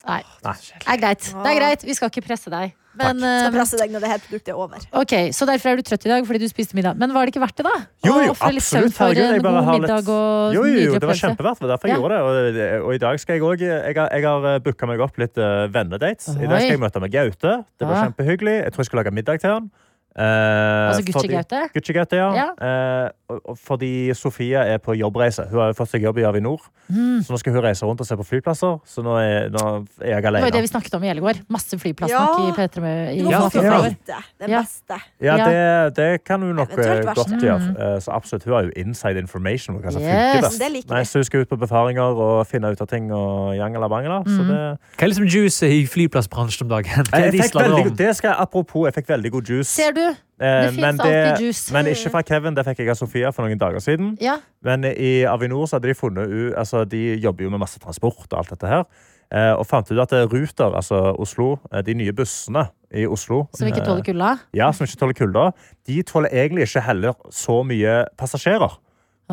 Speaker 2: Nei,
Speaker 5: Nei.
Speaker 2: det er greit. Det er greit, Vi skal ikke presse deg. Men,
Speaker 3: Skal
Speaker 2: eh,
Speaker 3: presse deg når det her produktet er over.
Speaker 2: ok, Så derfor er du trøtt i dag fordi du spiste middag. Men var det ikke verdt det, da?
Speaker 5: Jo, jo,
Speaker 2: Å ofre litt søvn
Speaker 5: absolutt.
Speaker 2: for
Speaker 5: Herregud,
Speaker 2: en
Speaker 5: jeg bare
Speaker 2: god
Speaker 5: har litt
Speaker 2: middag og
Speaker 5: Jo, jo,
Speaker 2: nydelig
Speaker 5: jo, det var
Speaker 2: opplevelse?
Speaker 5: kjempeverdt. Det var derfor jeg
Speaker 2: Ja.
Speaker 5: gjorde det. Og, og i dag skal jeg òg Jeg har, jeg har eh, booka meg opp litt eh, vennedates. I dag skal jeg
Speaker 2: Oi.
Speaker 5: møte med Gaute. Det var
Speaker 2: Ja.
Speaker 5: kjempehyggelig. Jeg tror jeg skal lage middag til han. Eh,
Speaker 2: Altså Gucci
Speaker 5: fordi-
Speaker 2: Gaute?
Speaker 5: Gucci Gaute, ja.
Speaker 2: Ja.
Speaker 5: Eh, og- og fordi Sofia er på jobbreise. Hun har jo fått seg jobb i Avinor.
Speaker 2: Mm.
Speaker 5: Så nå skal hun reise rundt og se på flyplasser. Så nå er, nå er jeg
Speaker 2: Det var jo det
Speaker 5: alene.
Speaker 2: vi snakket om i Elegård. Masse flyplassnakk
Speaker 3: Ja.
Speaker 2: i P3 med i
Speaker 3: Du må
Speaker 4: Ja,
Speaker 3: få
Speaker 4: ja.
Speaker 2: Flyplass.
Speaker 3: vite det
Speaker 2: Ja. Mm.
Speaker 3: beste.
Speaker 5: Ja, det, det kan hun nok eh,
Speaker 3: Eventuelt verst.
Speaker 5: godt gjøre. Eh, Så absolutt, hun har jo inside information. på Hva som
Speaker 2: Yes.
Speaker 5: funker best.
Speaker 3: Det liker
Speaker 5: Nei,
Speaker 3: vi.
Speaker 5: så hun skal ut på befaringer og finne ut av ting og jangela bangela.
Speaker 2: Mm.
Speaker 5: Så det
Speaker 4: Hva er liksom juice i flyplassbransjen om dagen? Hva er
Speaker 5: Jeg
Speaker 4: de
Speaker 5: fikk
Speaker 4: sladrer
Speaker 5: veldig,
Speaker 4: om?
Speaker 5: god- det skal jeg, apropos, jeg fikk veldig god juice.
Speaker 2: Ser du?
Speaker 5: Eh,
Speaker 2: det finnes
Speaker 5: men
Speaker 2: alltid juice.
Speaker 5: Men ikke fra Kevin, det fikk jeg av Sofia for noen dager siden.
Speaker 2: Ja.
Speaker 5: Men i Avinor så hadde de funnet ut, altså de jobber jo med masse transport og alt dette her, eh, og fant ut at eh, Ruter, altså Oslo, eh, de nye bussene i Oslo,
Speaker 2: Som ikke tåler kulda?
Speaker 5: eh, ja, som ikke tåler kulda, de tåler egentlig ikke heller så mye passasjerer.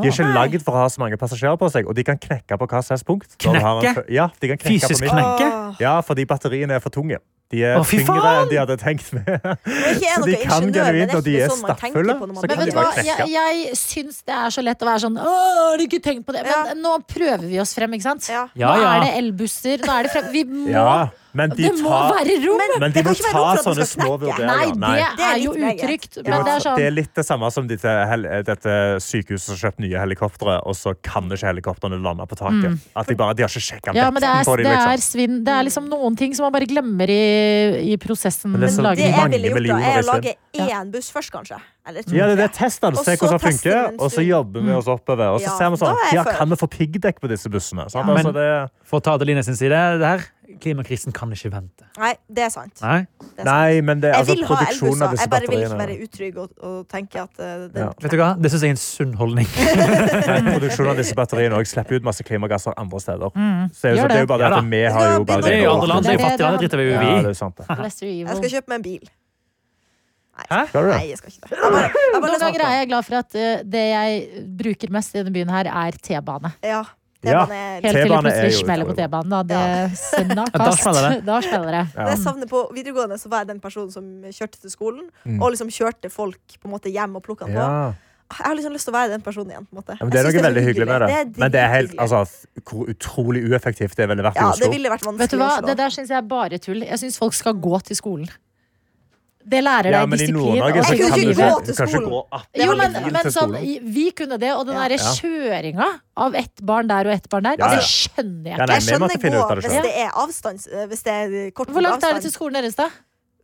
Speaker 5: De er ikke lagd for å ha så mange passasjerer på seg, og de kan knekke på hva som helst punkt. når du har en
Speaker 4: Knekke?
Speaker 5: fø- Ja, de kan knekke
Speaker 4: Fysisk
Speaker 5: på midten.
Speaker 4: knekke?
Speaker 3: Åh,
Speaker 5: Ja, fordi batteriene er for tunge. De er
Speaker 4: Å, fy
Speaker 5: tyngre
Speaker 4: faen!
Speaker 5: enn de hadde tenkt med.
Speaker 3: Nå er ikke jeg
Speaker 5: Så
Speaker 3: noen
Speaker 5: de kan
Speaker 3: ingeniør,
Speaker 5: genuint,
Speaker 3: men det
Speaker 5: og
Speaker 3: er
Speaker 5: de
Speaker 3: ikke
Speaker 5: er
Speaker 3: sånn man tenker på
Speaker 5: stappfulle,
Speaker 3: når
Speaker 5: så
Speaker 3: man
Speaker 2: Men
Speaker 5: kan
Speaker 2: vet
Speaker 5: de
Speaker 2: du
Speaker 5: bare
Speaker 2: hva,
Speaker 5: knekke.
Speaker 2: jeg, jeg syns det er så lett å være sånn Å, har du ikke tenkt på det? Men
Speaker 3: Ja.
Speaker 2: nå prøver vi oss frem, ikke sant?
Speaker 3: Ja.
Speaker 4: Ja,
Speaker 2: Nå
Speaker 4: ja.
Speaker 2: er det elbusser, nå er det frem... Vi må
Speaker 5: Ja, men de
Speaker 2: Det må
Speaker 5: tar
Speaker 2: være rom!
Speaker 5: men
Speaker 3: det
Speaker 5: de
Speaker 3: kan
Speaker 5: må
Speaker 3: ikke være
Speaker 5: ta
Speaker 3: rom for at
Speaker 5: sånne
Speaker 3: man
Speaker 5: små
Speaker 3: skal knekke.
Speaker 5: vurderinger.
Speaker 2: Nei, det
Speaker 3: Det er
Speaker 2: er jo
Speaker 3: litt meget.
Speaker 2: utrygt.
Speaker 5: De må
Speaker 2: Men det er
Speaker 5: ta-
Speaker 2: sånn
Speaker 5: altså, det er litt det samme som dette, hel- dette sykehuset som har kjøpt nye helikoptre, og så kan ikke helikoptrene lande på taket.
Speaker 3: Mm.
Speaker 5: At de bare, de har ikke sjekka
Speaker 2: Ja, men det er,
Speaker 5: på dem.
Speaker 2: det er sånn.
Speaker 5: Liksom.
Speaker 2: svinn. Det er
Speaker 3: Mm.
Speaker 2: liksom noen ting som man bare glemmer i, i prosessen.
Speaker 5: Men det er så-
Speaker 2: lagring.
Speaker 3: Det jeg ville
Speaker 5: Mange
Speaker 3: gjort, da,
Speaker 5: millioner
Speaker 3: er å
Speaker 5: i
Speaker 3: lage én buss først, kanskje. Eller to.
Speaker 5: Ja, det er det testene.
Speaker 3: Og
Speaker 5: Se
Speaker 3: så
Speaker 5: hvordan det
Speaker 3: tester vi en
Speaker 5: funker, og så
Speaker 3: stund.
Speaker 5: jobber vi oss oppover. Og så
Speaker 3: Ja,
Speaker 5: ser
Speaker 3: da
Speaker 5: vi sånn,
Speaker 3: er jeg
Speaker 5: ja,
Speaker 3: for.
Speaker 5: kan vi få piggdekk på disse bussene? Sant?
Speaker 4: Ja.
Speaker 5: Altså,
Speaker 4: Men-
Speaker 5: det,
Speaker 4: For å ta Adeline sin side, det her, klimakrisen kan ikke vente.
Speaker 3: Nei, det er sant.
Speaker 4: Nei?
Speaker 3: Det er sant.
Speaker 5: nei, men det er
Speaker 3: Jeg
Speaker 5: altså
Speaker 3: vil ha
Speaker 5: produksjonen
Speaker 3: elbusser.
Speaker 5: av disse
Speaker 3: Jeg bare vil ikke være
Speaker 5: batteriene.
Speaker 3: utrygg og, og tenke at eh, det,
Speaker 5: Ja.
Speaker 4: Vet du hva? Det syns jeg er en sunn holdning.
Speaker 5: Nei, Produksjonen av disse batteriene også slipper ut masse klimagasser andre steder. Så det er jo
Speaker 2: Gjør
Speaker 5: så- det er jo bare det
Speaker 4: Ja
Speaker 5: at vi har
Speaker 3: da
Speaker 5: jo bare
Speaker 4: Det er jo andre land, det er jo
Speaker 2: Det er det
Speaker 4: fattige land.
Speaker 2: det
Speaker 4: Det driter vi jo
Speaker 5: Ja, det er
Speaker 4: i.
Speaker 5: jo sant. det.
Speaker 2: Lester Evil.
Speaker 3: Jeg skal kjøpe meg en bil. Nei,
Speaker 4: Hæ?
Speaker 5: Skal du det?
Speaker 3: nei jeg skal ikke det. Jeg bare, jeg
Speaker 2: Noen
Speaker 3: bare
Speaker 2: ganger er jeg glad for at eh, det jeg bruker mest i denne byen her, er T-bane.
Speaker 3: liksom- Ja. Det,
Speaker 5: Ja.
Speaker 3: man er,
Speaker 2: Helt til det
Speaker 5: T-bane er
Speaker 2: plutselig
Speaker 5: jo
Speaker 2: smeller på
Speaker 5: utrolig.
Speaker 2: T-banen. Da,
Speaker 3: Ja.
Speaker 2: det, sender
Speaker 4: Da
Speaker 2: kast.
Speaker 4: smeller det.
Speaker 2: da smeller det.
Speaker 5: Ja.
Speaker 3: det jeg savner på videregående, så var jeg den personen som kjørte til skolen. Og liksom kjørte folk på en måte hjem og plukka den på.
Speaker 5: Mm. Ja.
Speaker 3: Jeg har liksom lyst til å være den personen igjen. på en måte
Speaker 5: Ja, men det er
Speaker 3: Jeg
Speaker 5: noe
Speaker 3: synes
Speaker 5: veldig
Speaker 3: så
Speaker 5: hyggelig med det.
Speaker 3: er
Speaker 5: men det er helt,
Speaker 3: drithyggelig.
Speaker 5: altså, f- hvor utrolig ueffektivt det ville vært
Speaker 3: ja,
Speaker 5: i
Speaker 3: det
Speaker 5: Oslo.
Speaker 3: ville
Speaker 2: Vet
Speaker 3: vært
Speaker 2: du
Speaker 3: vanskelig
Speaker 2: hva?
Speaker 3: i
Speaker 2: Det
Speaker 3: Oslo.
Speaker 2: der syns jeg er bare tull. Jeg syns folk skal gå til skolen. Det lærer
Speaker 5: Ja,
Speaker 2: deg
Speaker 5: men i
Speaker 2: disiplin.
Speaker 5: Nord-Norge
Speaker 2: og
Speaker 5: så
Speaker 3: Jeg kunne ikke
Speaker 5: kan du ikke
Speaker 2: selvtillit.
Speaker 3: gå til
Speaker 5: kanskje
Speaker 3: skolen.
Speaker 5: gå 18
Speaker 2: Jo, men,
Speaker 5: mil
Speaker 2: men
Speaker 5: til
Speaker 2: sånn,
Speaker 5: skolen.
Speaker 2: i- vi kunne det, og den
Speaker 3: Ja.
Speaker 2: derre kjøringa av ett barn der og ett barn der,
Speaker 5: Ja, ja.
Speaker 2: det skjønner jeg ikke.
Speaker 5: Ja, nei,
Speaker 3: Jeg
Speaker 5: vi måtte
Speaker 3: skjønner
Speaker 5: finne ut
Speaker 3: gå
Speaker 5: av det
Speaker 3: hvis
Speaker 5: selv.
Speaker 3: det er avstand. Hvis det er kort
Speaker 2: Hvor langt er det
Speaker 3: avstand.
Speaker 2: til skolen deres, da?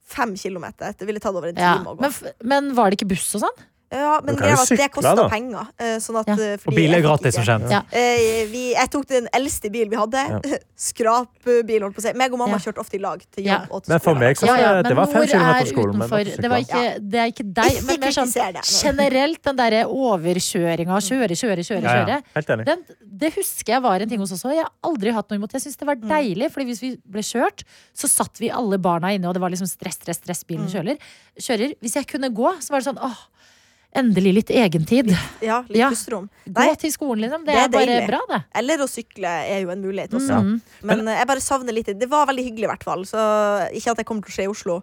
Speaker 3: Fem kilometer. Det ville tatt over en
Speaker 2: Ja.
Speaker 3: time å gå.
Speaker 2: Men, f- men var det ikke buss og sånn?
Speaker 3: Ja, men
Speaker 5: Du kan
Speaker 3: greia
Speaker 5: jo
Speaker 3: var at det
Speaker 5: sykle,
Speaker 3: koster
Speaker 5: da.
Speaker 3: penger. eh, Sånn at,
Speaker 2: Ja.
Speaker 3: eh, fordi
Speaker 4: Og biler
Speaker 3: jeg
Speaker 4: er
Speaker 3: fikk
Speaker 4: gratis, som
Speaker 3: ikke-
Speaker 4: kjent.
Speaker 2: Ja.
Speaker 3: Eh, vi, jeg tok den eldste bilen vi hadde. Skrapbil, holdt på å si. Meg og mamma
Speaker 2: Ja.
Speaker 3: kjørte ofte i lag til
Speaker 2: Ja.
Speaker 3: jobb. og til
Speaker 5: Men for
Speaker 3: skole.
Speaker 5: meg så
Speaker 2: Ja, ja, men
Speaker 5: det var fem
Speaker 2: nord
Speaker 5: kilometer
Speaker 2: er
Speaker 5: til skolen. men
Speaker 2: utenfor.
Speaker 5: jeg måtte
Speaker 2: det, var
Speaker 5: sykle.
Speaker 2: ikke, det er ikke deg,
Speaker 3: Ikke
Speaker 2: men mer sånn
Speaker 3: kritiser det.
Speaker 2: generelt den derre overkjøringa og kjøre, kjøre, kjøre.
Speaker 4: Ja, ja.
Speaker 2: kjøre.
Speaker 5: Helt enig.
Speaker 2: Den, det husker jeg var en ting hos oss også. Jeg har aldri hatt noe imot. Jeg syns det var
Speaker 3: Mm.
Speaker 2: deilig, Fordi hvis vi ble kjørt, så satt vi alle barna inne, og det var liksom stress, stress, stress, bilen
Speaker 3: Mm.
Speaker 2: kjører. kjører. Hvis jeg kunne gå, så var det sånn åh, endelig litt egentid.
Speaker 3: Ja, litt
Speaker 2: Ja.
Speaker 3: pusterom.
Speaker 2: Gå
Speaker 3: Nei,
Speaker 2: til skolen, liksom. Det,
Speaker 3: Det er
Speaker 2: er bare
Speaker 3: deilig.
Speaker 2: bra, det.
Speaker 3: eller å sykle er jo en mulighet også.
Speaker 5: Mm.
Speaker 3: Men eh, jeg bare savner litt Det var veldig hyggelig, i hvert fall. Så ikke at det kommer til å skje i Oslo.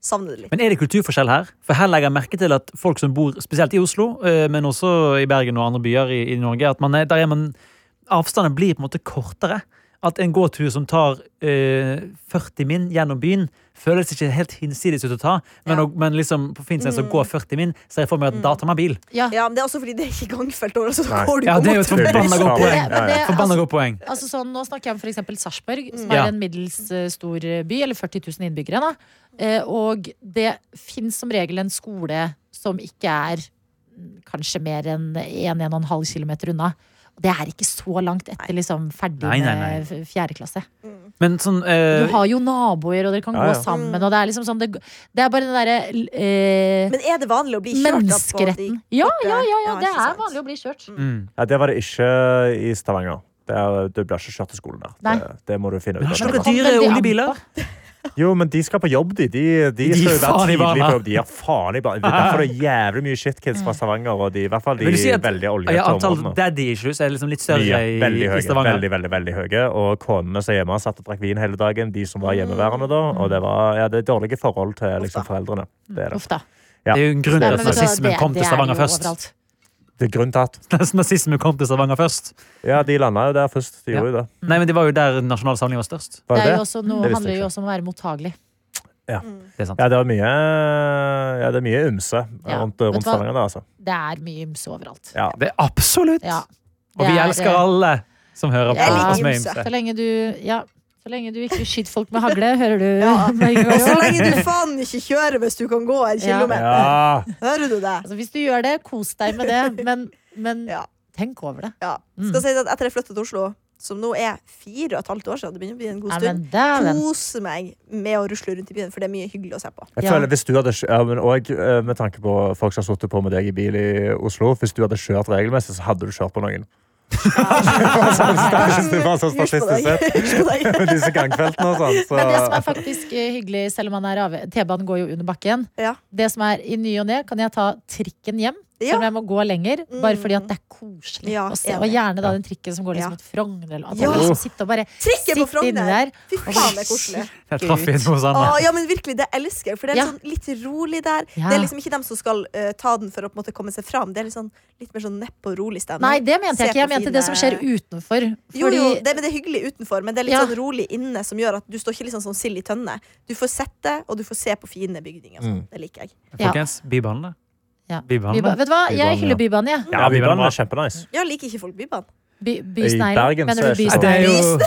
Speaker 3: Savner det litt.
Speaker 4: Men er det kulturforskjell her? For her legger jeg merke til at folk som bor spesielt i Oslo, eh, men også i Bergen og andre byer i, i Norge, at man er, der er man Avstanden blir på en måte kortere. At en gåtur som tar eh, 40 min gjennom byen, føles ikke helt hinsides ut å ta, men,
Speaker 3: Ja.
Speaker 4: og, men liksom på Finnsnes
Speaker 2: Mm.
Speaker 4: å gå 40 min, ser jeg for meg at da tar man bil.
Speaker 2: Ja.
Speaker 3: Ja, men det er også fordi det er ikke gangfelt over. Så
Speaker 5: Nei.
Speaker 3: går du
Speaker 4: Ja,
Speaker 3: på
Speaker 4: det er jo et
Speaker 3: motor.
Speaker 4: forbanna godt
Speaker 5: Ja,
Speaker 4: poeng.
Speaker 5: ja, ja.
Speaker 2: Men det-
Speaker 4: Forbanna godt poeng.
Speaker 2: Altså sånn, nå snakker jeg om for eksempel Sarsborg, som
Speaker 4: Ja.
Speaker 2: er en middels eh, stor eh, by, eller 40 000 innbyggere. Da. Eh, Og det fins som regel en skole som ikke er mm, kanskje mer enn 1-1,5 km unna. Og Det er ikke så langt etter liksom, ferdig
Speaker 4: Nei, nei, nei.
Speaker 2: med f- fjerde klasse.
Speaker 4: Men sånn
Speaker 2: Du
Speaker 4: eh,
Speaker 2: har jo naboer, og dere kan
Speaker 5: Ja, ja.
Speaker 2: gå sammen. Og det, er liksom sånn, det, g- det er bare den derre l- eh,
Speaker 3: Men er det vanlig å bli kjørt opp på de
Speaker 2: Menneskeretten. Ja, ja, ja, ja,
Speaker 3: Ja,
Speaker 2: det
Speaker 3: ikke
Speaker 2: er
Speaker 3: sant. Mm.
Speaker 2: vanlig å bli kjørt.
Speaker 5: Ja, det var det ikke i Stavanger. Der, du blir ikke kjørt til skolen der.
Speaker 2: Nei.
Speaker 5: Det, det må du finne
Speaker 4: Men
Speaker 5: ut
Speaker 4: har
Speaker 5: av. altså.
Speaker 4: ikke dere
Speaker 2: Kom
Speaker 4: dyre
Speaker 2: veldig an
Speaker 4: oljebiler?
Speaker 2: på.
Speaker 5: Jo, men de skal på jobb, de. De, de,
Speaker 4: De
Speaker 5: skal jo være
Speaker 4: faen i
Speaker 5: tidlig på
Speaker 4: barna.
Speaker 5: jobb. De er faen i barna. Det er Derfor det er jævlig mye shitkids fra Stavanger, og de, i hvert fall de
Speaker 4: Vil du si at
Speaker 5: veldig oljete
Speaker 4: ja, antall
Speaker 5: områdene.
Speaker 4: daddy issues er liksom litt større
Speaker 5: Mye.
Speaker 4: i,
Speaker 5: Veldig høye.
Speaker 4: i Stavanger?
Speaker 5: Veldig, veldig, veldig høye. Og konene som er hjemme satt og drakk vin hele dagen, de som var hjemmeværende da. Og det var ja, det er dårlige forhold til liksom, foreldrene.
Speaker 4: Mm.
Speaker 5: Det er,
Speaker 2: Uff
Speaker 5: det.
Speaker 2: da.
Speaker 4: Det
Speaker 5: Ja.
Speaker 4: er jo en grunn
Speaker 2: Nei,
Speaker 4: til at
Speaker 2: men vet du hva,
Speaker 4: nazismen
Speaker 2: det-
Speaker 4: kom til
Speaker 2: det er
Speaker 4: Stavanger
Speaker 2: jo
Speaker 4: først.
Speaker 2: overalt.
Speaker 5: det er grunnen til at
Speaker 4: Nesten nazismen kom til Stavanger først.
Speaker 5: Ja, de landa jo der først. De
Speaker 2: Mm.
Speaker 4: Ja.
Speaker 5: gjorde jo det.
Speaker 4: Nei, men Det var jo der Nasjonal Samling var størst.
Speaker 5: Var
Speaker 2: Det
Speaker 5: det
Speaker 2: er jo
Speaker 5: det?
Speaker 2: også noe,
Speaker 5: Det visste jeg
Speaker 2: handler jo
Speaker 5: ikke.
Speaker 2: også om å være mottagelig.
Speaker 5: Ja.
Speaker 4: Det er sant.
Speaker 5: Ja, det er mye, ja, det er mye ymse
Speaker 2: Ja.
Speaker 5: rundt,
Speaker 2: Vet du
Speaker 5: rundt
Speaker 2: hva?
Speaker 5: Stavanger. der, Altså.
Speaker 2: Det er mye ymse overalt.
Speaker 5: Ja.
Speaker 4: Det er absolutt!
Speaker 2: Ja.
Speaker 4: Og vi
Speaker 2: Det er,
Speaker 4: elsker
Speaker 2: eh,
Speaker 4: alle som hører på.
Speaker 3: Jeg liker
Speaker 4: oss med
Speaker 3: ymse.
Speaker 4: ymse.
Speaker 2: Så lenge du Ja. Så lenge du ikke skyter folk med hagle, hører du?
Speaker 3: Ja.
Speaker 2: Margot?
Speaker 3: Og så lenge du faen ikke kjører hvis du kan gå en
Speaker 2: Ja.
Speaker 3: kilometer.
Speaker 5: Ja.
Speaker 3: Hører du det?
Speaker 2: Altså, hvis du gjør det, kos deg med det, men, men
Speaker 3: Ja.
Speaker 2: tenk over det.
Speaker 3: Ja.
Speaker 2: Mm.
Speaker 3: Skal sies at etter jeg flytta til Oslo, som nå er fire og et halvt år siden, det begynner å bli en god
Speaker 2: Nei,
Speaker 3: stund,
Speaker 2: men dæven.
Speaker 3: kose meg med å rusle rundt i byen, for det er mye hyggelig å se på.
Speaker 5: Jeg
Speaker 2: Ja.
Speaker 5: føler hvis du hadde, kj- ja, men og, eh, Med tanke på folk som har sittet på med deg i bil i Oslo, hvis du hadde kjørt regelmessig, så hadde du kjørt på noen. Statistisk- bare sånn
Speaker 3: Hysj på
Speaker 5: statistisk
Speaker 3: deg.
Speaker 5: sett.
Speaker 3: Hysj på deg.
Speaker 5: Disse gangfeltene og sånn. Så.
Speaker 2: Men det som er faktisk eh, hyggelig, selv om man er av T-banen går jo under bakken.
Speaker 3: Ja.
Speaker 2: Det som er i ny og ne, kan jeg ta trikken hjem, selv om
Speaker 3: Ja.
Speaker 2: jeg må gå lenger. Bare fordi at det er koselig
Speaker 3: Ja,
Speaker 2: å se. Og
Speaker 3: enig.
Speaker 2: gjerne da den trikken som går
Speaker 3: Ja.
Speaker 2: liksom mot Frogner. Eller at
Speaker 3: Ja.
Speaker 2: man liksom sitter og bare
Speaker 3: Trikken på
Speaker 2: sitter inni
Speaker 3: Frogner!
Speaker 2: der.
Speaker 3: Fy faen, det er koselig.
Speaker 4: Jeg traff inn hos
Speaker 3: Å,
Speaker 4: Anna.
Speaker 3: ja, men virkelig, det elsker jeg. For det er
Speaker 2: Ja.
Speaker 3: sånn litt rolig der.
Speaker 2: Ja.
Speaker 3: Det er liksom ikke dem som skal eh, ta den for å på en måte komme seg fram. Det er litt sånn, litt mer sånn nepp og rolig stemning.
Speaker 2: Nei, det mente
Speaker 3: Se
Speaker 2: jeg ikke. Jeg
Speaker 3: på
Speaker 2: mente det
Speaker 3: fine-
Speaker 2: som skjer utenfor.
Speaker 3: Jo,
Speaker 2: Fordi
Speaker 3: jo, det, men det er hyggelig utenfor, men det er litt
Speaker 2: Ja.
Speaker 3: sånn rolig inne som gjør at du står ikke liksom som sild i tønne. Du får sett det, og du får se på fine bygninger. og sånn. Det liker jeg.
Speaker 2: Ja.
Speaker 4: Folkens, Bybanen, da.
Speaker 2: Ja.
Speaker 4: Bybanen,
Speaker 2: Byba-
Speaker 4: da.
Speaker 2: Vet du hva,
Speaker 5: Bybanen,
Speaker 2: jeg
Speaker 5: ja.
Speaker 2: hyller Bybanen, jeg.
Speaker 5: Ja, Bybanen var kjempenice.
Speaker 3: Ja, liker ikke folk Bybanen?
Speaker 2: By,
Speaker 5: I
Speaker 2: bysneglen.
Speaker 5: Bergen så
Speaker 2: Mener du
Speaker 5: er det ikke
Speaker 4: Ja, det er
Speaker 2: bysneglen?
Speaker 4: jo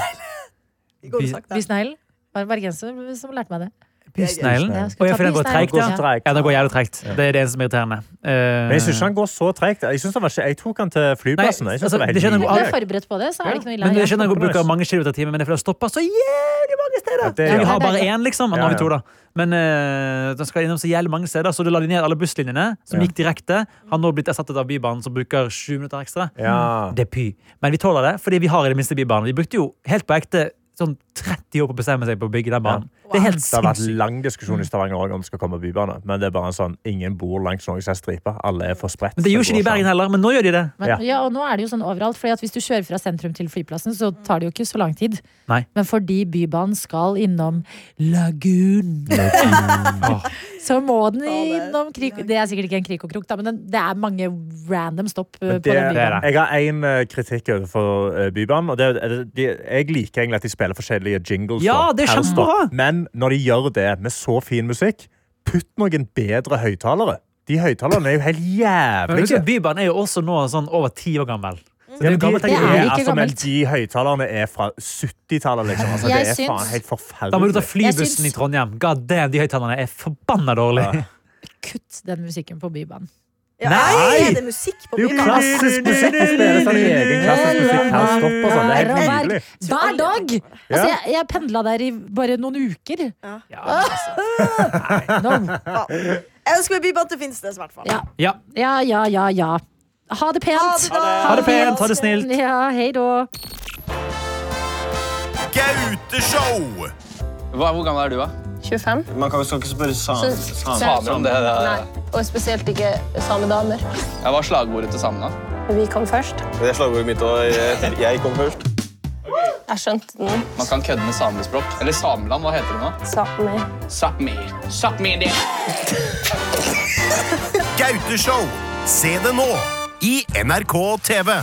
Speaker 3: Vi går
Speaker 4: By-
Speaker 3: jo sakte.
Speaker 2: Bysneglen? Var det en bergenser som lærte meg det?
Speaker 4: Bysneglen.
Speaker 2: Ja, jeg
Speaker 4: Og
Speaker 2: skulle
Speaker 4: jeg
Speaker 2: ta
Speaker 4: føler den går
Speaker 2: bysneglen.
Speaker 4: treigt, ja.
Speaker 2: Ja.
Speaker 5: Treigt.
Speaker 4: Ja, den går jævlig tregt. Det er det eneste som er irriterende. Eh,
Speaker 5: Men jeg syns ikke han går så tregt. Jeg, synes han var ikke- jeg tok han til
Speaker 4: Nei,
Speaker 5: flyplassen. Jeg synes det var
Speaker 4: altså,
Speaker 5: helt
Speaker 4: det skjønner
Speaker 2: Hvis
Speaker 5: nydelig.
Speaker 2: du er forberedt på det, så er det ikke noe ille.
Speaker 4: Men
Speaker 2: Ja.
Speaker 4: jeg skjønner at jeg bruker mange kilometer i timen, men det er fordi det stopper så jævlig mange steder.
Speaker 5: Ja, det er
Speaker 4: Jeg vil
Speaker 5: jo-
Speaker 4: ha bare én, liksom. Men nå har vi
Speaker 5: Ja,
Speaker 4: to,
Speaker 5: ja.
Speaker 4: da. Men eh, den skal innom så jævlig mange steder, så du la de ned alle busslinjene som
Speaker 5: Ja.
Speaker 4: gikk direkte. Har nå blitt erstattet av Bybanen, som bruker sju minutter ekstra.
Speaker 5: Ja.
Speaker 4: Det er py. Men vi tåler det, fordi vi har i det minste Bybanen. Vi brukte jo helt på ekte sånn 30 år på å bestemme seg på å bygge den banen. Det er helt
Speaker 5: Det har vært
Speaker 4: sinnssykt.
Speaker 5: lang diskusjon i Stavanger også om det skal komme bybane. Men det er bare en sånn, ingen bor langs noen slags stripe. Alle er for spredt.
Speaker 4: Men det gjorde ikke de i Bergen heller, men nå gjør de det.
Speaker 2: Men, ja.
Speaker 5: Ja.
Speaker 2: og nå er det jo sånn overalt, fordi at hvis du kjører fra sentrum til flyplassen, så tar det jo ikke så lang tid.
Speaker 4: Nei.
Speaker 2: Men fordi Bybanen skal innom Lagun,
Speaker 4: Åh,
Speaker 2: så må den
Speaker 3: Ja, det-
Speaker 2: innom Krik... Det er sikkert ikke en Krik og Krok, da, men den, det er mange random stopp uh,
Speaker 5: Men
Speaker 2: på
Speaker 5: det,
Speaker 2: den
Speaker 4: er
Speaker 2: Bybanen.
Speaker 5: jeg har én kritikk overfor eh, Bybanen. Og det, er- er det, de, jeg liker egentlig at de spiller forskjellige jingles.
Speaker 4: Ja,
Speaker 5: da,
Speaker 4: det er
Speaker 5: her og da.
Speaker 4: kjempebra.
Speaker 5: Men når de gjør det med så fin musikk, putt noen bedre høyttalere. De høyttalerne er jo helt
Speaker 4: Men husk
Speaker 5: jævlige.
Speaker 4: at Bybanen er jo også nå sånn over ti år gammel. Så
Speaker 5: Ja,
Speaker 4: det er
Speaker 5: men
Speaker 4: jo
Speaker 5: de,
Speaker 4: gammel
Speaker 5: de,
Speaker 2: Det er
Speaker 4: teknologi.
Speaker 2: ikke
Speaker 5: altså, men
Speaker 2: gammelt.
Speaker 5: de høyttalerne er fra 70-tallet, liksom. Altså,
Speaker 2: Jeg
Speaker 5: det er
Speaker 2: syns-
Speaker 5: faen helt
Speaker 4: Da må du ta
Speaker 5: forferdelig.
Speaker 2: Jeg
Speaker 4: flybussen
Speaker 2: syns-
Speaker 4: i Trondheim. God damn, de høyttalerne er forbanna dårlige.
Speaker 2: Kutt den musikken på Bybanen.
Speaker 3: Ja,
Speaker 4: Nei!
Speaker 3: Er det musikk på
Speaker 5: Det er jo
Speaker 3: Bybanen?
Speaker 5: klassisk musikk som spilles av en egen klassisk musikk. Her stopper sånn. Det er helt
Speaker 2: Hver-
Speaker 5: nydelig.
Speaker 2: Hver dag!
Speaker 5: Ja.
Speaker 2: Altså, jeg, jeg pendla der i bare noen uker.
Speaker 5: altså.
Speaker 2: No.
Speaker 3: Jeg ønsker meg Bybanen til Finnsnes, i hvert fall.
Speaker 2: Ja.
Speaker 4: Ja.
Speaker 2: ja, ja, ja, ja. Ha det pent!
Speaker 4: Ha det pent, ha det snilt.
Speaker 2: Ja, hei da.
Speaker 6: Gauteshow!
Speaker 7: Hva, hvor gammel er du, da?
Speaker 8: 25.
Speaker 9: Man kan, skal ikke spørre sam
Speaker 8: Så-
Speaker 7: Samer om det.
Speaker 9: eh,
Speaker 7: det
Speaker 8: Nei, og spesielt ikke samedamer.
Speaker 7: Jeg var slagordet til samene.
Speaker 8: Vi kom først.
Speaker 9: Det er slagordet mitt, og jeg, jeg kom først.
Speaker 8: Jeg skjønte den.
Speaker 7: Man kan kødde med samespråk. Eller Sameland, hva heter det nå?
Speaker 8: Samer.
Speaker 7: Sápmi. Sápmi det.
Speaker 6: Gauteshow! Se det nå i NRK TV.